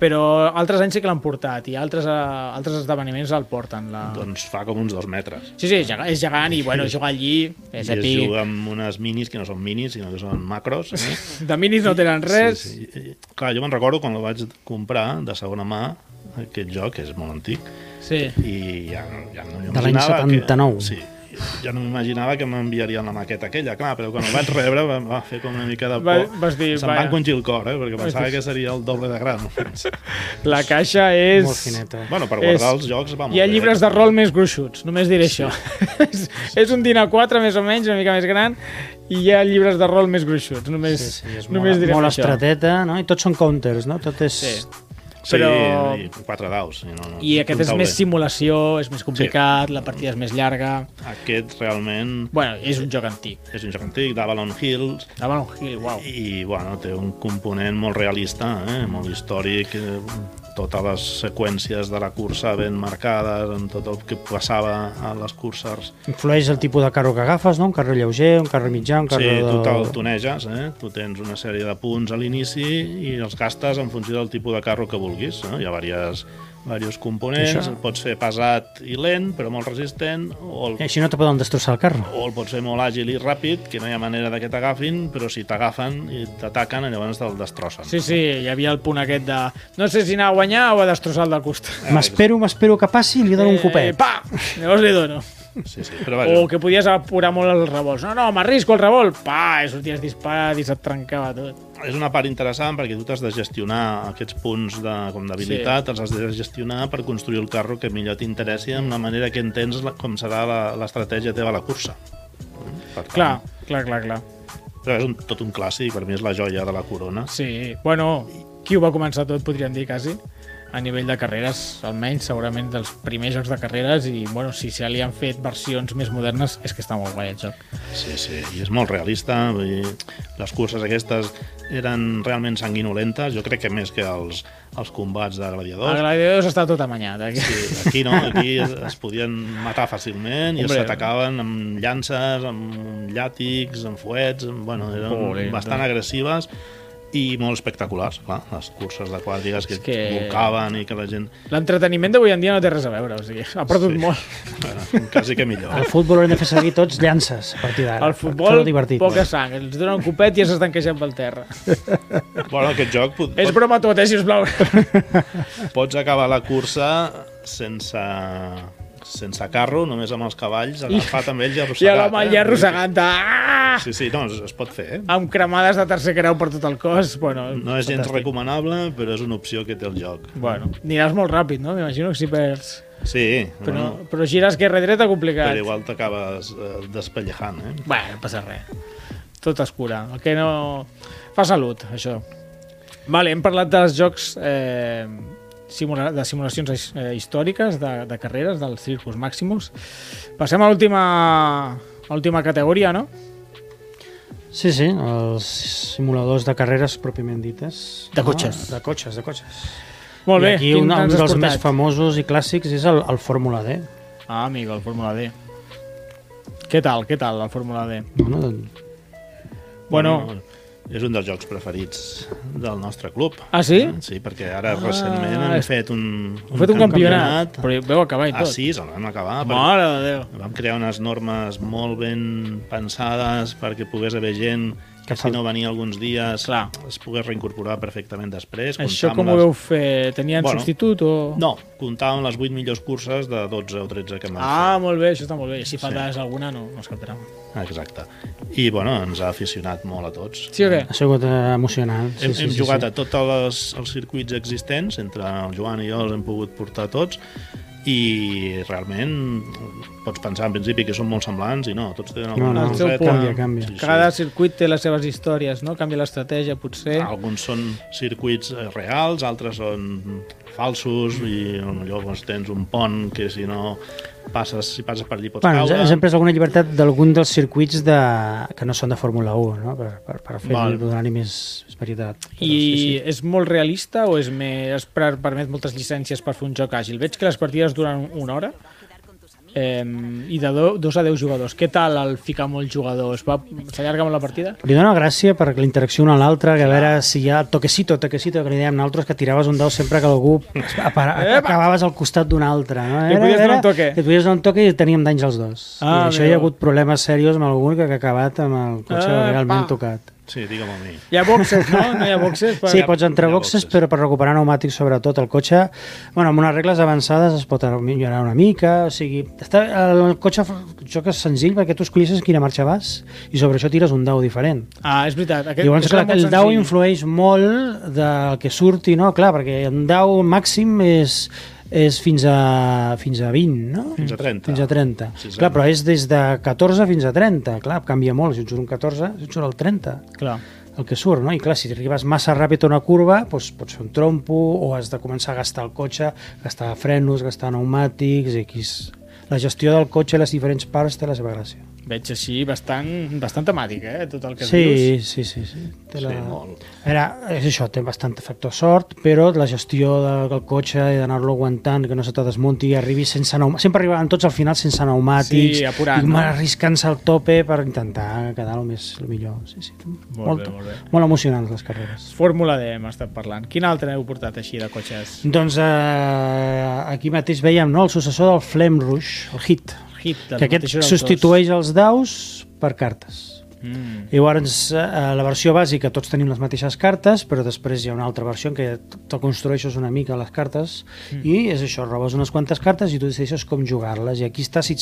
S1: però altres anys sí que l'han portat i altres, eh, altres esdeveniments el porten. La...
S2: Doncs fa com uns dos metres.
S1: Sí, sí, és gegant, és gegant i bueno, jugar allí és
S2: I es
S1: èpic.
S2: juga amb unes minis que no són minis, sinó que són macros. Eh?
S1: De minis no tenen res.
S2: Sí, sí. I- i- Clar, jo me'n recordo quan el vaig comprar de segona mà, aquest joc, que és molt antic,
S1: sí.
S2: i ja, no- ja no m'imaginava...
S3: De l'any 79.
S2: Que, sí, ja no m'imaginava que m'enviarien la maqueta aquella, clar, però quan el vaig rebre va, va fer com una mica de por.
S1: Va- vas dir,
S2: Se'm va
S1: "Vaja".
S2: encongir el cor, eh, perquè pensava que seria el doble de gran.
S1: La caixa és...
S3: Molt fineta. eh?
S2: bueno, per guardar
S1: És-
S2: els jocs va molt
S1: Hi ha
S2: bé.
S1: llibres de rol més gruixuts, només diré sí. això. és, és un dinar 4 més o menys, una mica més gran, i hi ha llibres de rol més gruixuts, només,
S3: Sí, sí, és
S1: només
S3: molt,
S1: diré
S3: molt
S1: això.
S3: estrateta, no? I tots són counters, no? Tot és...
S1: Sí.
S2: Sí,
S1: però-
S2: i quatre daus. I, no, no,
S1: I aquest
S2: un
S1: és més
S2: tauler.
S1: simulació, és més complicat, la partida és més llarga...
S2: Aquest realment
S1: Bueno, és un joc antic.
S2: és un joc antic, d'Avalon Hills,
S1: Avalon Hill, uau.
S2: i bueno, té un component molt realista, eh? molt històric, eh? totes les seqüències de la cursa ben marcades, amb tot el que passava a les curses.
S3: Influeix el tipus de carro que agafes, no? Un carro lleuger, un carro mitjà, un carro...
S2: Sí, tu
S3: de-
S2: te'l tuneges, eh? tu tens una sèrie de punts a l'inici i els gastes en funció del tipus de carro que vulguis. Eh? Hi ha diverses, diversos components,
S3: Això.
S2: el pots fer pesat i lent, però molt resistent, o el
S1: Eh.
S3: I així no te poden destrossar el carro.
S2: o el pots fer molt àgil i ràpid, que no hi ha manera de que t'agafin, però si t'agafen i t'ataquen, llavors te'l destrossen.
S1: Sí, sí, hi havia el punt aquest de... No sé si anar a guanyar o a destrossar el del costat.
S3: M'espero, m'espero que passi i li dono un
S1: Eh,
S3: copet.
S1: pa! Llavors li dono.
S2: sí, sí. Però vaja,
S1: O que podies apurar molt els revolts. No, no, m'arrisco el revolt. Pa! I sorties disparat i se't trencava tot.
S2: és una part interessant perquè tu t'has de gestionar aquests punts de, com d'habilitat, els has de gestionar per construir el carro que millor t'interessi amb la manera que entens la, com serà la- l'estratègia teva a la cursa. Per tant,
S1: Clar, clar, clar, clar.
S2: Però és un, tot un clàssic, per mi és la joia de la corona.
S1: Sí, bueno, qui ho va començar tot, podríem dir, quasi, a nivell de carreres, almenys, segurament dels primers jocs de carreres, i bueno, si se li han fet versions més modernes, és que està molt guai el joc.
S2: Sí, sí, i és molt realista. Vull dir, les curses aquestes eren realment sanguinolentes, jo crec que més que els, els combats de
S1: El
S2: gladiadors.
S1: Gladiador està tot amanyat. Eh? Sí.
S2: Oh. Sí, aquí no, aquí es, es podien matar fàcilment i
S1: Hombre.
S2: s'atacaven amb llances, amb llàtics, amb fuets, amb, bueno, eren
S1: Polenta.
S2: bastant agressives i molt espectaculars, clar, les curses d'aquàtiques que,
S1: És
S2: que...
S1: que-
S2: volcaven i que la gent...
S1: L'entreteniment d'avui en dia no té res a veure, o sigui, ha perdut
S2: Sí.
S1: sí. molt.
S2: Bueno, quasi que millor.
S3: Al futbol haurem de fer servir tots llances a partir d'ara.
S1: El
S3: Fer-ho
S1: futbol,
S3: divertit.
S1: poca sang, els dona un copet i ja s'estan queixant pel terra.
S2: Bueno, aquest joc pot,
S1: És
S2: pot,
S1: broma tot, eh, sisplau.
S2: pots acabar la cursa sense sense carro, només amb els cavalls, agafar també ells i
S1: I
S2: arrossegat. eh?
S1: l'home allà arrossegant ah!
S2: Sí, sí, no, es, es pot fer, eh?
S1: amb cremades de tercer grau per tot el cos. Bueno,
S2: No és gens
S1: fantàstic.
S2: recomanable, però és una opció que té el joc.
S1: Bueno, aniràs molt ràpid, no? M'imagino que si perds...
S2: Sí,
S1: Però,
S2: bueno,
S1: però gires guerra dreta complicat.
S2: Però igual t'acabes eh, despellejant, eh?
S1: Bueno, no passa res. Tot es cura. El que no... Fa salut, això. Vale, hem parlat dels jocs eh, simula de simulacions his- eh, històriques, de, de carreres, del Circus Maximus. Passem a l'última a l'última categoria, no?
S3: Sí, sí, els simuladors de carreres pròpiament dites.
S1: De cotxes.
S3: No? De cotxes, de cotxes.
S1: Molt bé,
S3: I aquí
S1: quin
S3: un, un
S1: t'has
S3: dels més
S1: portat?
S3: famosos i clàssics és el, el Fórmula D.
S1: Ah, amigo, el Fórmula D. Què tal, què tal, el Fórmula D?
S3: Bueno, doncs,
S1: Bueno,
S2: És un dels jocs preferits del nostre club.
S1: Ah, sí? Ah,
S2: Sí, perquè ara recentment hem
S1: és-
S2: fet un,
S1: heu fet un campionat, però veu acabar i
S2: Ah,
S1: tot.
S2: sí, se'l vam acabar. perquè
S1: Mare de Déu.
S2: Vam crear unes normes molt ben pensades perquè pogués haver gent
S3: Que
S2: que si
S3: fal-
S2: no venia alguns dies
S1: Clar.
S2: es pogués reincorporar perfectament després.
S1: Això
S2: comptar amb
S1: com ho
S2: les-
S1: veu fer? Tenien
S2: Bueno.
S1: bueno, substitut o...?
S2: No, comptàvem les 8 millors curses de 12 o 13 que hem
S1: Ah, molt bé, això està molt bé. I Si faltes alguna, no, no es captarà.
S2: fet. Exacte. I, bueno, ens ha aficionat molt a tots.
S1: Sí o què?
S3: ha sigut eh, emocionant. Sí,
S2: Hem,
S3: sí,
S2: hem
S3: sí,
S2: jugat
S3: sí.
S2: a tots els, els circuits existents, entre el Joan i jo els hem pogut portar tots, i realment pots pensar en principi que són molt semblants i no, tots tenen alguna
S3: no,
S1: el seu
S2: coseta.
S1: punt.
S3: Canvia, canvia.
S2: Sí, Ah, sí.
S1: Cada circuit té les seves històries, no? Canvia l'estratègia, potser.
S2: Alguns són circuits eh, reals, altres són falsos i potser doncs, tens un pont que si no passes, si passes per allí pots
S3: Bueno, ens,
S2: caure.
S3: ens hem pres alguna llibertat d'algun dels circuits de... que no són de Fórmula 1, no? per, per, per
S2: Val.
S3: fer-li donar-hi més, més varietat. Però
S1: I
S3: sí, sí.
S1: és molt realista o és més, es per- permet moltes llicències per fer un joc àgil? Veig que les partides duren una hora eh, i de do, dos a deu jugadors. Què tal el ficar molts jugadors? Va- S'allarga molt la partida?
S3: Li dóna gràcia per la interacció una a l'altra, que a veure si hi ha toquecito, toquecito, que li dèiem nosaltres, que tiraves un dau sempre que algú apara, acabaves al costat d'un altre. No?
S1: Li podies donar un toque.
S3: Li podies donar un toque i teníem danys els dos.
S1: Ah,
S3: I això hi
S1: mireu.
S3: ha hagut problemes serios amb algun que, que ha acabat amb el cotxe
S1: Ah,
S3: realment
S1: pa.
S3: tocat.
S2: Sí, digue'm a mi.
S1: Hi ha boxes, no? No hi ha boxes? Per...
S3: Sí, pots entrar
S2: hi ha
S3: boxes,
S2: boxes.
S3: però per recuperar pneumàtics sobretot el cotxe, bueno, amb unes regles avançades es pot millorar una mica, o sigui, està, el cotxe el joc és senzill perquè tu escollisses quina marxa vas i sobre això tires un dau diferent.
S1: Ah, és veritat. Aquest,
S3: Llavors,
S1: és
S3: clar,
S1: molt
S3: el dau
S1: senzill.
S3: influeix molt del que surti, no? Clar, perquè un dau màxim és, és fins a, fins a 20, no?
S2: Fins a 30.
S3: Fins a 30.
S2: Sí, sí.
S3: clar, però és des de 14 fins a 30. Clar, canvia molt. Si et surt un 14, si et surt el 30
S1: Clar.
S3: el que surt, no? I clar, si arribes massa ràpid a una curva, doncs pots fer un trompo o has de començar a gastar el cotxe, gastar frenos, gastar pneumàtics, i aquí és... La gestió del cotxe i les diferents parts té la seva gràcia.
S1: Veig així bastant, bastant temàtic, eh? Tot el que dius.
S3: Sí, sí, sí, sí. Té la...
S2: Sí, molt.
S3: A veure, és això, té bastant factor sort, però la gestió del, del cotxe i d'anar-lo aguantant, que no se te desmunti i arribi sense pneumàtics. Sempre arribaven tots al final sense pneumàtics
S1: Sí, apurant,
S3: i
S1: no?
S3: arriscant-se al tope per intentar quedar el, més, el millor. Sí, sí.
S1: Molt bé, molt bé.
S3: molt emocionants les carreres.
S1: Fórmula D hem estat parlant. Quin altre heu portat així de cotxes?
S3: Doncs eh, aquí mateix veiem no? el successor del Flame Rush, el hit,
S1: Hit, dels
S3: Mm, que aquest
S1: mateixos autors.
S3: substitueix els daus per cartes.
S1: Mm.
S3: Llavors, eh, la versió bàsica, tots tenim les mateixes cartes, però després hi ha una altra versió en què te construeixes una mica les cartes i és això, robes unes quantes cartes i tu decideixes com jugar-les. I aquí està, si,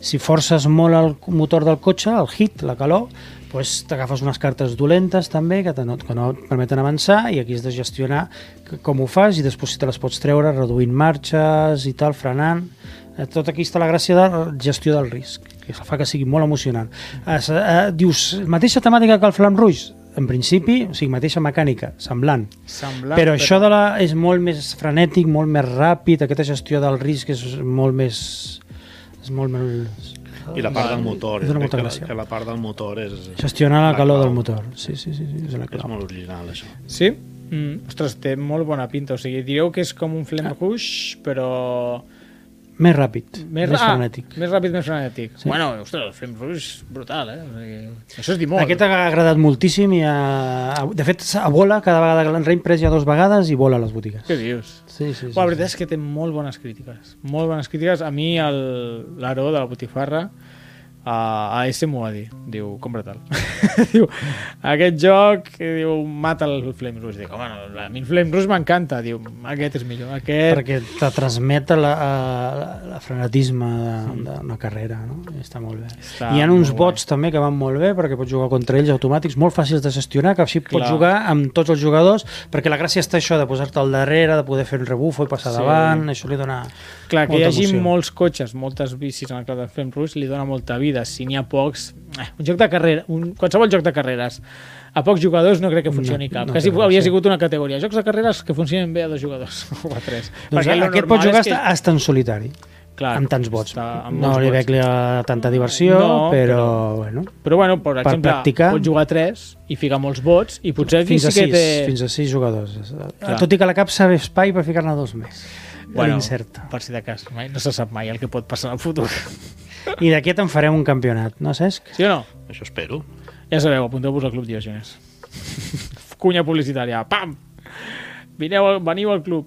S3: si forces molt el motor del cotxe, el hit, la calor, doncs t'agafes unes cartes dolentes també que, te no, que no et permeten avançar i aquí has de gestionar c- com ho fas i després si te les pots treure reduint marxes i tal, frenant Eh, tot aquí està la gràcia de la gestió del risc que fa que sigui molt emocionant eh, se- eh, dius, mateixa temàtica que el Flam Rouge en principi, o sigui, mateixa mecànica semblant,
S1: Semblant,
S3: però això de la, és molt més frenètic, molt més ràpid aquesta gestió del risc és molt més és molt més
S2: I la part del motor.
S3: és una
S2: jo crec
S3: molta
S2: que, la,
S3: gràcia.
S2: que la part del motor és,
S3: Gestionar la
S2: La
S3: calor
S2: clau.
S3: del motor. Sí, sí, sí, sí és la
S2: és
S3: clau.
S2: molt original, això.
S1: Sí? Mm. Ostres, té molt bona pinta. O sigui, direu que és com un flame rush, però...
S3: Més ràpid, més, més
S1: ra-
S3: frenètic.
S1: Ah, més ràpid, més frenètic. Sí. Bueno, ostres, el flame rush és brutal, eh? O sigui, això és dir molt.
S3: Aquest ha agradat moltíssim i a, a, de fet a vola cada vegada que l'han reimprès ja dues vegades i vola a les botigues.
S1: Què dius?
S3: Sí, sí, sí.
S1: Bueno, la veritat és que té molt bones crítiques. Molt bones crítiques. A mi el- l'Aró de la Botifarra a, a S m'ho va dir. Diu, compra-te'l. diu, aquest joc, que diu, mata el Flame Rush. Dic, home, no, a mi el Flame Rush m'encanta. Diu, aquest és millor. Aquest...
S3: perquè te transmet la, la, la frenetisme de- d'una carrera no? I està molt bé
S1: Està
S3: hi ha uns
S1: molt guai.
S3: bots també que van molt bé perquè pots jugar contra ells automàtics, molt fàcils de gestionar que així pots
S1: Clar.
S3: jugar amb tots els jugadors perquè la gràcia està això de posar-te al darrere de poder fer el rebufo i passar
S1: Sí.
S3: davant això li dona
S1: Clar, que hi
S3: molta
S1: hagi
S3: emoció.
S1: molts cotxes, moltes bicis en el Cloud Flame Rush li dona molta vida. Si n'hi ha pocs... eh, Un joc de carrera, un, qualsevol joc de carreres, a pocs jugadors no crec que funcioni
S3: No,
S1: cap.
S3: no
S1: Quasi
S3: crec,
S1: hauria
S3: sí.
S1: sigut una categoria. Jocs de carreres que funcionen bé a dos jugadors o a tres.
S3: doncs
S1: Perquè lo
S3: aquest
S1: normal
S3: pot jugar
S1: és que-
S3: hasta, hasta en solitari
S1: Clar,
S3: amb tants bots
S1: està amb
S3: no
S1: molts
S3: li
S1: vots.
S3: veig la- tanta diversió
S1: No,
S3: però, bueno
S1: Però bueno, per, exemple,
S3: practicar.
S1: pot jugar a 3 i ficar molts vots i potser aquí
S3: fins a,
S1: sí que
S3: sis,
S1: té...
S3: fins a sis jugadors
S1: Clar.
S3: tot i que la cap sabe espai per ficar-ne dos més
S1: Bueno,
S3: l'incerta
S1: per si de cas, mai, no se sap mai el que pot passar al futur.
S3: I d'aquest en farem un campionat, no, Cesc?
S1: Sí o no?
S2: Això espero.
S1: Ja sabeu, apunteu-vos al Club Diogenes. Cunya publicitària. Pam! Vineu, al- veniu al club.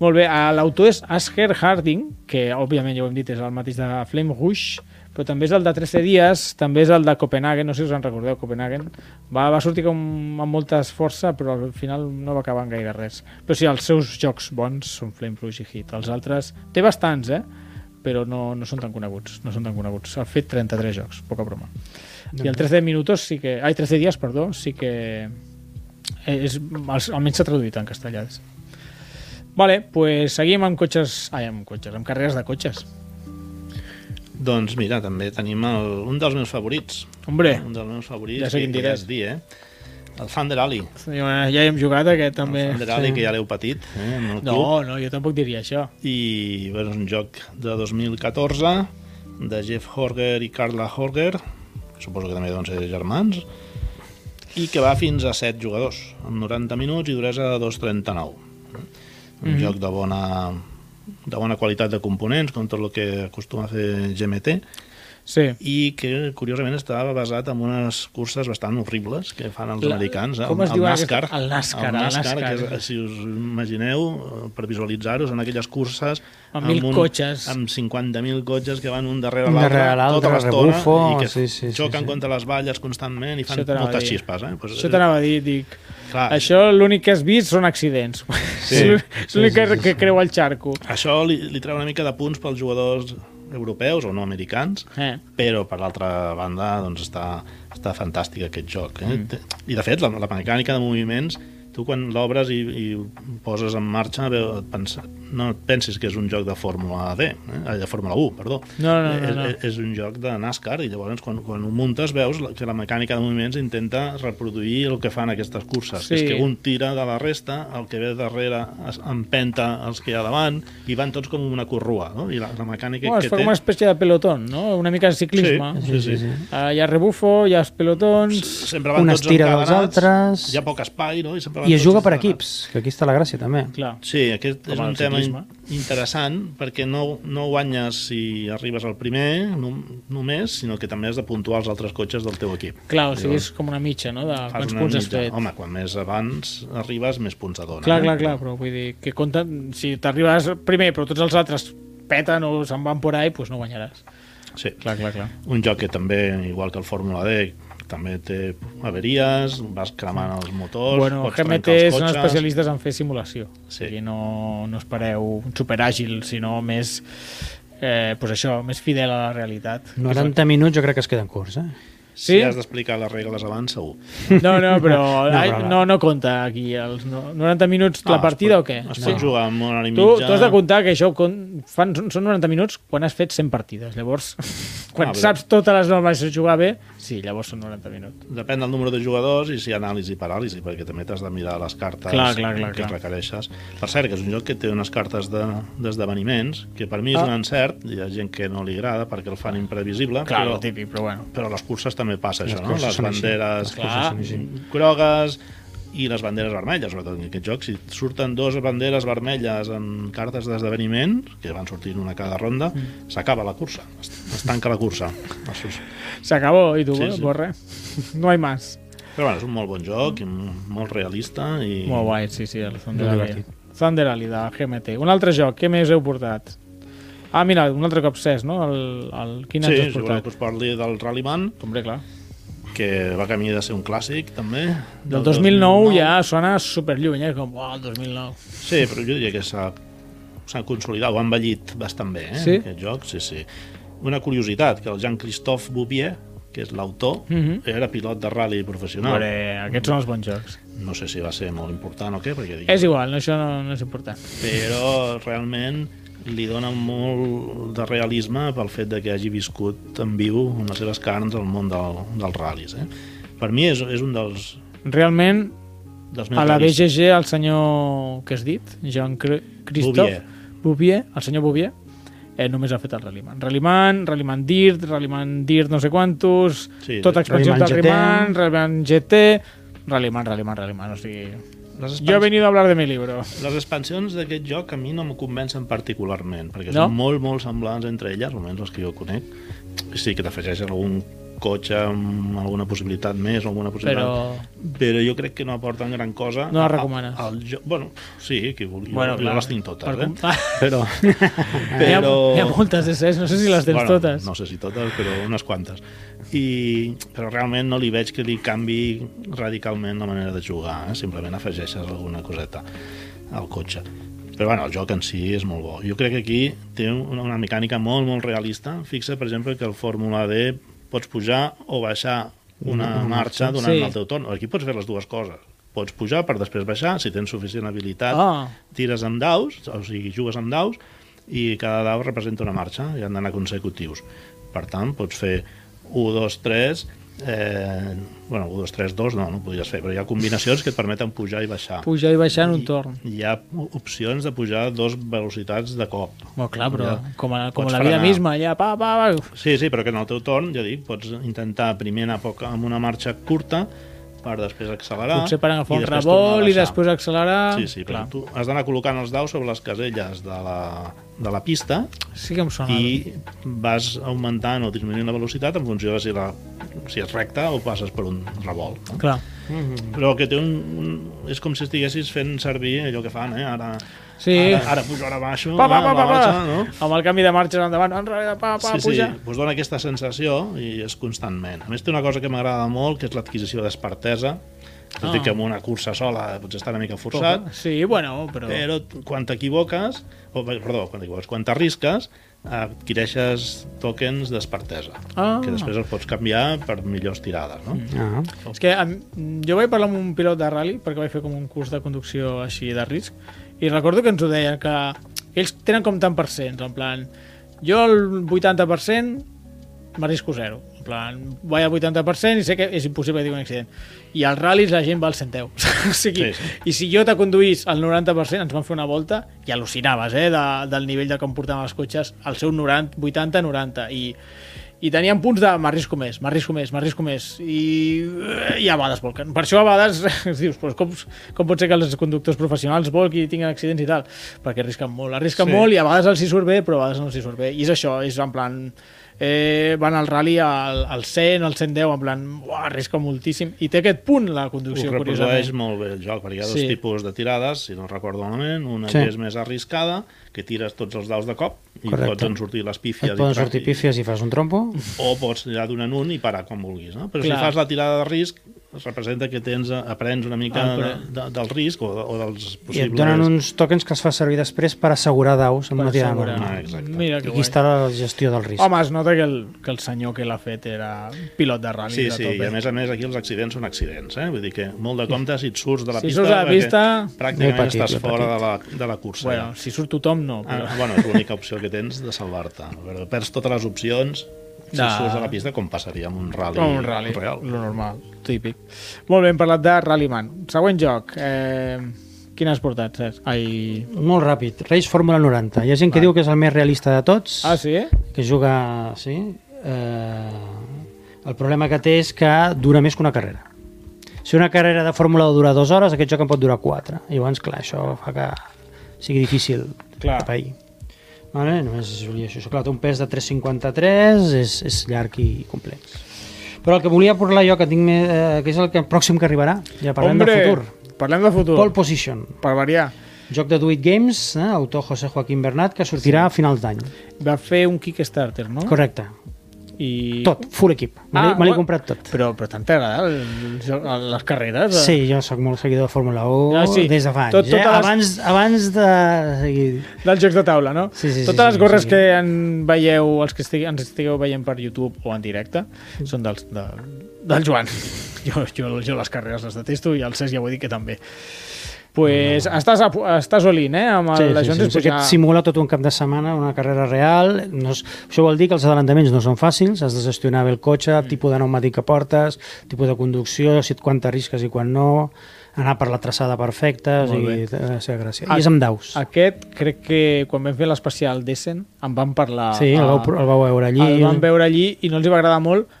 S1: Molt bé, eh, l'autor és Asger Harding, que òbviament ja ho hem dit, és el mateix de Flame Rush, però també és el de 13 dies, també és el de Copenhagen, no sé si us en recordeu, Copenhagen. Va, va sortir com amb molta esforça, però al final no va acabar en gaire res. Però sí, els seus jocs bons són Flame Rush i Hit. Els altres, té bastants, eh? però no, no són tan coneguts. No són tan coneguts. Ha fet 33 jocs, poca broma. I el 13 minutos sí que... Ai, 13 dies, eh, perdó, sí que... És, almenys s'ha traduït en castellà. Vale, pues seguim amb cotxes... Ai, amb cotxes, amb carreres de cotxes.
S2: Doncs mira, també tenim el, un dels meus favorits.
S1: Hombre,
S2: Un dels meus favorits,
S1: Ja sé quin
S2: que, que
S1: diràs.
S2: ja et dir, eh? El Thunder Alley.
S1: eh, ja hi hem jugat aquest també.
S2: El Thunder Alley, que ja l'heu patit, eh? Amb el club.
S1: No, no, jo tampoc diria això.
S2: i bueno, és un joc de 2014 de Jeff Horger i Carla Horger que suposo que també deuen ser germans i que va fins a 7 jugadors amb 90 minuts i duresa de
S1: Mhm.
S2: 2.39 un mm -hmm. joc de bona de bona qualitat de components com tot el que acostuma a fer GMT
S1: Sí.
S2: i que curiosament estava basat en unes curses bastant horribles que fan els
S1: La-
S2: americans eh?
S1: com
S2: el,
S1: es diu aquest?
S2: NASCAR,
S1: El NASCAR,
S2: el
S1: el
S2: NASCAR,
S1: NASCAR.
S2: Que és, si us imagineu eh, per visualitzar-ho són aquelles curses
S1: Amb mil
S2: un,
S1: cotxes.
S2: amb 50.000 cotxes que van un darrere
S3: Un
S2: l'altre
S3: darrere l'altre,
S2: tota l'estona
S3: rebufo,
S2: i que
S3: sí, sí, sí,
S2: xoquen
S3: sí.
S2: contra les valles constantment i fan
S1: Això t'anava a
S2: moltes
S1: dir.
S2: xispes eh? pues,
S1: Això t'anava a dir, dic...
S2: clar, això,
S1: Això l'únic que has vist són accidents.
S2: Ah. Sí.
S1: és l'únic que, que creu el xarco.
S2: això li, li treu una mica de punts pels jugadors europeus o no americans
S1: Eh.
S2: però per l'altra banda doncs està, està fantàstic aquest joc eh? mm. i de fet la, la mecànica de moviments tu quan l'obres i, i ho poses en marxa veu- et pensa, no et pensis que és un joc de Fórmula D eh? Ai, de Fórmula 1, perdó
S1: No, no, no,
S2: és,
S1: no.
S2: és- és un joc de NASCAR i llavors quan, quan ho muntes veus la- que la mecànica de moviments intenta reproduir el que fan aquestes curses
S1: Sí.
S2: que és que un tira de la resta el que ve darrere es empenta els que hi ha davant i van tots com una corrua no? i la, la mecànica
S1: Bueno, es
S2: que
S1: fa
S2: té
S1: com una espècie de pelotón, no? Una mica de ciclisme.
S2: Sí,
S1: Sí.
S2: sí, sí, sí.
S1: Uh, hi ha rebufo, hi ha els pelotons...
S2: sempre van
S3: Un
S2: tots
S3: estira dels
S2: encadenats,
S3: altres.
S2: hi ha poc espai no? I, sempre van
S3: I es
S2: tots
S3: juga per
S2: encadenats.
S3: equips, que aquí està la gràcia també.
S1: Clar.
S2: sí, aquest
S1: Com
S2: és
S1: el
S2: un tema in-
S1: ciclisme.
S2: interessant perquè no, no guanyes si arribes al primer no, només, sinó que també has de puntuar els altres cotxes del teu equip
S1: Clar, o sigui, és com una mitja, no? De quants
S2: una
S1: punts has
S2: mitja.
S1: fet.
S2: Home, quan més abans arribes, més punts et donen.
S1: Clar,
S2: eh?
S1: clar, clar, però vull dir que compta, si t'arribes primer però tots els altres peten o se'n van por ahí, doncs no guanyaràs.
S2: Sí.
S1: Clar, clar, clar.
S2: Un joc que també, igual que el Fórmula D, també té averies, vas cremant els motors,
S1: Bueno,
S2: pots trencar
S1: GMT
S2: els
S1: són
S2: cotxes...
S1: especialistes en fer simulació.
S2: Sí.
S1: Sí. O sigui, no, no espereu un superàgil, sinó més... Eh, pues això, més fidel a la realitat.
S3: 90 minuts jo crec que es queden curts, eh?
S2: Si
S1: Sí?
S2: has d'explicar les regles abans, segur.
S1: No, no, però
S3: No,
S1: ai,
S3: però-
S1: no, no compta aquí els no, 90 minuts la
S2: Ah,
S1: partida
S2: es
S1: o
S2: pot,
S1: què?
S2: Es pot
S1: Sí.
S2: jugar amb una hora i
S1: Tu,
S2: mitja...
S1: tu has de comptar que això ho con- fan, són són 90 minuts quan has fet 100 partides. Llavors, quan
S2: Ah, però-
S1: saps totes les normes de jugar bé, sí, llavors són 90 minuts.
S2: Depèn del número de jugadors i si hi ha anàlisi i paràlisi, perquè també t'has de mirar les cartes
S1: Clar, clar, clar,
S2: que
S1: clar.
S2: requereixes. Per cert, que és un joc que té unes cartes de- d'esdeveniments, de, que per mi és
S1: Ah.
S2: un encert, hi ha gent que no li agrada perquè el fan imprevisible,
S1: Clar,
S2: però,
S1: el típic, però bueno.
S2: però a les curses també passa
S3: Les
S2: això, no?
S3: curses
S2: Les
S3: són així.
S2: banderes
S1: Les curses són
S2: grogues i les banderes vermelles, sobretot en aquest joc. Si surten dues banderes vermelles en cartes d'esdeveniment, que van sortint una cada ronda,
S3: Mm.
S2: s'acaba la cursa, es, es tanca la cursa.
S1: S'acabó, i tu,
S2: Sí,
S1: sí,
S2: sí.
S1: sí. borre. No hay más.
S2: Però bueno, és un molt bon joc, i molt realista i...
S1: Molt guai, sí, sí, el Thunder
S3: Molt
S1: Alley.
S3: divertit.
S1: Thunder Alley de GMT. Un altre joc, què més heu portat? Ah, mira, un altre cop Cesc, no? El, el... Quin
S2: Sí,
S1: sí, has
S2: si voleu
S1: portat?
S2: que us parli del Rallyman,
S1: Hombre, clar.
S2: que va camí de ser un clàssic, també.
S1: Del 2009 ja sona superlluny, eh? Com, oh, el 2009.
S2: Sí, però jo diria que s'ha s'ha consolidat, ho ha envellit bastant bé, eh,
S1: Sí?
S2: aquest joc, sí, sí. Una curiositat, que el Jean-Christophe Bouvier, que és l'autor,
S1: Mhm.
S2: era pilot de rally professional.
S1: No. Veure, aquests són els bons jocs.
S2: No sé si va ser molt important o què, perquè digui,
S1: És igual, no, això no, no és important.
S2: però realment li dona molt de realisme pel fet de que hagi viscut en viu amb les seves carns el món del, dels ral·lis. Eh? Per mi és, és un dels,
S1: Realment,
S2: dels meus
S1: a la
S2: ral·lis
S1: BGG, el senyor que has dit, Jean Cre- Christophe Bouvier, el senyor Bouvier, eh, només ha fet el Rallyman. Rallyman, Rallyman Dirt, Rallyman Dirt no sé quantos,
S2: Sí,
S1: sí, tota
S2: sí.
S1: expansió del Rallyman,
S3: Rallyman
S1: Rallyman GT, Rallyman, Rallyman, Rallyman, o sigui...
S2: Les
S1: Yo he venido a hablar de mi libro.
S2: Les expansions d'aquest joc a mi no em convencen particularment, perquè
S1: No?
S2: són molt, molt semblants entre elles, almenys les que jo conec. Sí que t'afegeixen algun cotxe amb alguna possibilitat més, alguna possibilitat... Però, però jo crec que no aporten gran cosa.
S1: No les
S2: a-
S1: recomanes.
S2: Al, joc... Bueno, sí, qui vulgui.
S1: Bueno,
S2: Bueno, jo
S1: clar.
S2: les tinc totes,
S1: Per
S2: eh?
S1: com-
S2: Però...
S1: N'hi ha,
S2: però...
S1: n'hi ha moltes de ses, no sé si les tens
S2: bueno,
S1: totes.
S2: No sé si totes, però unes quantes. I, però realment no li veig que li canvi radicalment la manera de jugar, eh? simplement afegeixes alguna coseta al cotxe. Però bueno, el joc en si és molt bo. Jo crec que aquí té una, una mecànica molt, molt realista. Fixa, per exemple, que el Fórmula D pots pujar o baixar una marxa durant
S1: Sí.
S2: el teu torn. Aquí pots fer les dues coses. pots pujar per després baixar, si tens suficient habilitat,
S1: Ah.
S2: tires amb daus, o sigui, jugues amb daus, i cada dau representa una marxa, i han d'anar consecutius. Per tant, pots fer 1, 2, 3, eh, bueno, 1, 2, 3, 2, no, no ho podies fer, però hi ha combinacions que et permeten pujar i baixar.
S1: Pujar i baixar en un torn.
S2: Hi ha opcions de pujar a dos velocitats de cop.
S1: Bueno, clar, però
S2: Ja.
S1: com, a, com
S2: Pots
S1: a la vida
S2: frenar.
S1: misma, ja, pa, pa, pa.
S2: Sí, sí, però que en el teu torn, ja dic, pots intentar primer anar a poc amb una marxa curta per després accelerar.
S1: Potser per agafar
S2: Ah, i
S1: un
S2: després tornar a
S1: rebol i
S2: baixar.
S1: després accelerar...
S2: Sí, sí,
S1: clar.
S2: perquè tu has d'anar col·locant els daus sobre les caselles de la, de la pista
S1: Sí que em sona. I...
S2: i vas augmentant o disminuint la velocitat en funció de si, la, si és recta o passes per un revolt. no?
S1: Clar. Mm.
S2: Però que té un, un... És com si estiguessis fent servir allò que fan, eh? Ara,
S1: Sí.
S2: ara, ara pujo, ara baixo,
S1: Pa, pa,
S2: ara
S1: pa, pa, pa.
S2: baixo, no?
S1: Amb el canvi de marxa endavant, enrere, pa, pa,
S2: sí,
S1: puja.
S2: sí, us dona aquesta sensació i és constantment. A més, té una cosa que m'agrada molt, que és l'adquisició d'espartesa. Tot
S1: Ah.
S2: i que amb una cursa sola potser està una mica forçat,
S1: Sí, bueno, però...
S2: però t- quan t'equivoques, o, bé, perdó, quan t'equivoques, quan t'arrisques, adquireixes tokens d'espartesa,
S1: Ah.
S2: que després els pots canviar per millors tirades, no?
S3: Ah.
S1: És que em- jo vaig parlar amb un pilot de rally perquè vaig fer com un curs de conducció així de risc i recordo que ens ho deien que ells tenen com tant per cent en plan, jo el 80% m'arrisco zero en plan, vaig al 80% i sé que és impossible que tingui un accident i als ral·lis la gent va al centeu o sigui,
S2: Sí, sí.
S1: i si jo te conduís al 90% ens van fer una volta i al·lucinaves eh, de, del nivell de com portaven els cotxes al seu 90, 80, 90 i, i tenien punts de m'arrisco més, m'arrisco més, m'arrisco més i, i a vegades volquen per això a vegades dius però com, com pot ser que els conductors professionals volquen i tinguin accidents i tal perquè arrisquen molt, arrisquen
S2: Sí.
S1: sí. molt i a vegades els hi surt bé però a vegades no els hi surt bé i és això, és en plan eh, van al rally al, al 100, al 110 en plan, uah, arrisca moltíssim i té aquest punt la
S2: Ho
S1: conducció,
S2: reprodueix
S1: curiosament
S2: molt bé el joc, perquè hi ha dos
S1: Sí.
S2: tipus de tirades, si no recordo malament, una
S3: Sí.
S2: sí. que és més arriscada, que tires tots els daus de cop i
S3: Correcte.
S2: pots en sortir les pífies.
S3: Et
S2: i
S3: poden
S2: tra-
S3: sortir
S2: i-
S3: pífies i fas un trompo.
S2: o pots anar donant un i parar quan vulguis no? però
S1: Clar.
S2: si fas la tirada de risc es representa que tens, aprens una mica
S1: Ah, però-
S2: de, de, del risc o, de, o dels
S3: I et
S2: possibles
S3: donen uns tokens que els fas servir després per assegurar daus amb
S1: Per
S3: una tirada
S1: assegurar.
S3: normal.
S2: Ah, exacte.
S1: Mira
S3: I
S1: que
S3: aquí
S1: guai.
S3: està la gestió del risc.
S1: Home, es nota que el, que el senyor que l'ha fet era pilot de ràl·li.
S2: Sí,
S1: de
S2: sí,
S1: tope.
S2: i a més a més aquí els accidents són accidents, eh? vull dir que molt de compte si et surts de la
S1: Si
S2: pista,
S1: surts de la
S2: perquè
S1: pista,
S2: pràcticament
S3: Molt petit,
S2: estàs
S3: molt
S2: fora de la, de la cursa.
S1: Bueno,
S2: ja.
S1: si surt tothom, no. Però...
S2: Ah, bueno, és l'única opció que tens de salvar-te, però perds totes les opcions si
S1: De-
S2: surts de la pista com passaria amb un rally,
S1: Com un rally,
S2: real.
S1: lo normal, típic. Molt bé, hem parlat de Rallyman. Següent joc. Eh, quin has portat, Cesc? Ai...
S3: Molt ràpid. Race Fórmula 90. Hi ha gent que diu que és el més realista de tots,
S1: Ah, sí?
S3: que juga... Sí? Eh, el problema que té és que dura més que una carrera. Si una carrera de Fórmula 1 dura dues hores, aquest joc en pot durar quatre. I llavors, clar, això fa que sigui difícil
S1: Clar.
S3: de pair. Vale? Només es volia això. Això, clar, té un pes de 3,53, és, és llarg i complex. Però el que volia parlar jo, que, tinc més, eh, que és el que pròxim que arribarà, ja parlem
S1: Hombre,
S3: de futur.
S1: Parlem de futur.
S3: Pole Position.
S1: Per variar.
S3: Joc de Do It Games, eh? autor José Joaquín Bernat, que sortirà a finals d'any.
S1: Va fer un Kickstarter, no?
S3: Correcte.
S1: I...
S3: Tot, full equip. Me l'he-
S1: Ah,
S3: me l'he
S1: bueno.
S3: comprat tot.
S1: Però, però tant t'agrada el joc- les carreres? eh?
S3: Sí, jo sóc molt seguidor de Fórmula 1
S1: Ah, sí.
S3: des de fa anys.
S1: Tot-
S3: Tot, eh?
S1: totes les-
S3: abans, abans de... seguir-
S1: dels jocs de taula, no?
S3: Sí, sí, sí,
S1: Totes les
S3: sí,
S1: gorres
S3: sí.
S1: que en veieu, els que estigui, ens estigueu veient per YouTube o en directe, són dels, de, del Joan. Jo, jo, jo les carreres les detesto i el Cesc ja ho he dit que també. Pues no. estàs, a, pu- estàs olint, eh? Amb el,
S3: Sí,
S1: la
S3: sí,
S1: Joan
S3: sí, sí, ja... Simula tot un cap de setmana, una carrera real. No és... Això vol dir que els adelantaments no són fàcils, has de gestionar bé el cotxe,
S1: Mm.
S3: el tipus de pneumàtic que portes, tipus de conducció, si et quan t'arrisques i quan no, anar per la traçada perfecta, o
S1: Molt
S3: sigui, té la seva gràcia.
S1: Ah,
S3: I és amb daus.
S1: Aquest, crec que quan vam fer l'especial d'Essen, en van parlar...
S3: sí, el vau, el vau veure allí.
S1: allí... ah. el van veure allí i no els hi va agradar molt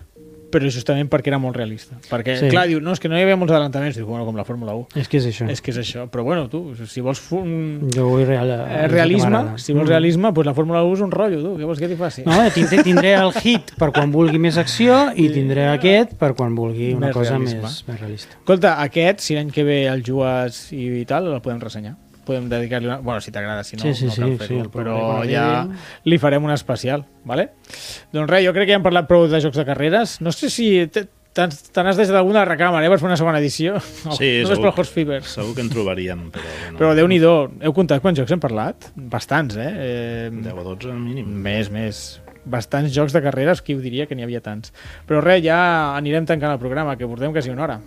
S1: però justament perquè era molt realista perquè sí.
S3: Sí.
S1: clar, diu, no, és que no hi havia molts adelantaments diu, bueno, com la Fórmula 1
S3: És que és això.
S1: és que és això, però bueno, tu, si vols fu- un
S3: Jo vull real,
S1: eh, realisme, si vols realisme, pues la Fórmula 1 és un rotllo, tu, què vols que t'hi faci?
S3: Mm. No, eh. tindré, tindré el hit per quan vulgui més acció i tindré aquest per quan vulgui una
S1: Més
S3: cosa
S1: realisme.
S3: més, més realista.
S1: Escolta, aquest, si l'any que ve el jugues i, i tal, el podem ressenyar. Podem dedicar-li una... Bueno, si t'agrada, si no,
S3: Sí, sí,
S1: no cal
S3: sí,
S1: fer-ho,
S3: sí, el
S1: però
S3: provaré quan
S1: ja
S3: arribi.
S1: li farem un especial, vale? Doncs res, jo crec que ja hem parlat prou de jocs de carreres. No sé si te te n'has te n'has deixat alguna a la recàmera, eh, per fer una segona edició.
S2: Sí,
S1: Només
S2: segur.
S1: per Horse Fever.
S2: Segur que en trobaríem, però... Bueno,
S1: Però Déu-n'hi-do, heu comptat quants jocs hem parlat? Bastants, eh? eh
S2: 10 o 12 mínim.
S1: Més, més. Bastants jocs de carreres, qui ho diria que n'hi havia tants. Però res, ja anirem tancant el programa, que portem quasi una hora.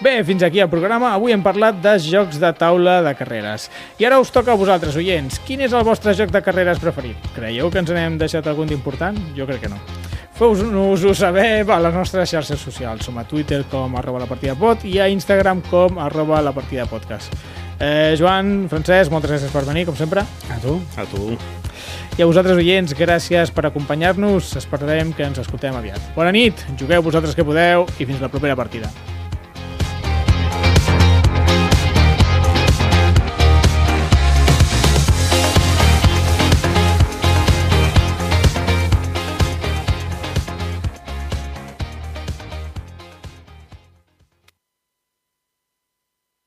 S1: Bé, fins aquí el programa. Avui hem parlat de jocs de taula de carreres. I ara us toca a vosaltres, oients. Quin és el vostre joc de carreres preferit? Creieu que ens n'hem deixat algun d'important? Jo crec que no. Feu-nos-ho saber a les nostres xarxes socials. Som a Twitter com arroba la partida pot i a Instagram com arroba la partida podcast. Eh, Joan, Francesc, moltes gràcies per venir, com sempre.
S3: A tu?
S2: A tu.
S1: I a vosaltres, oients, gràcies per acompanyar-nos. Esperarem que ens escoltem aviat. Bona nit, jugueu vosaltres que podeu i fins la propera partida.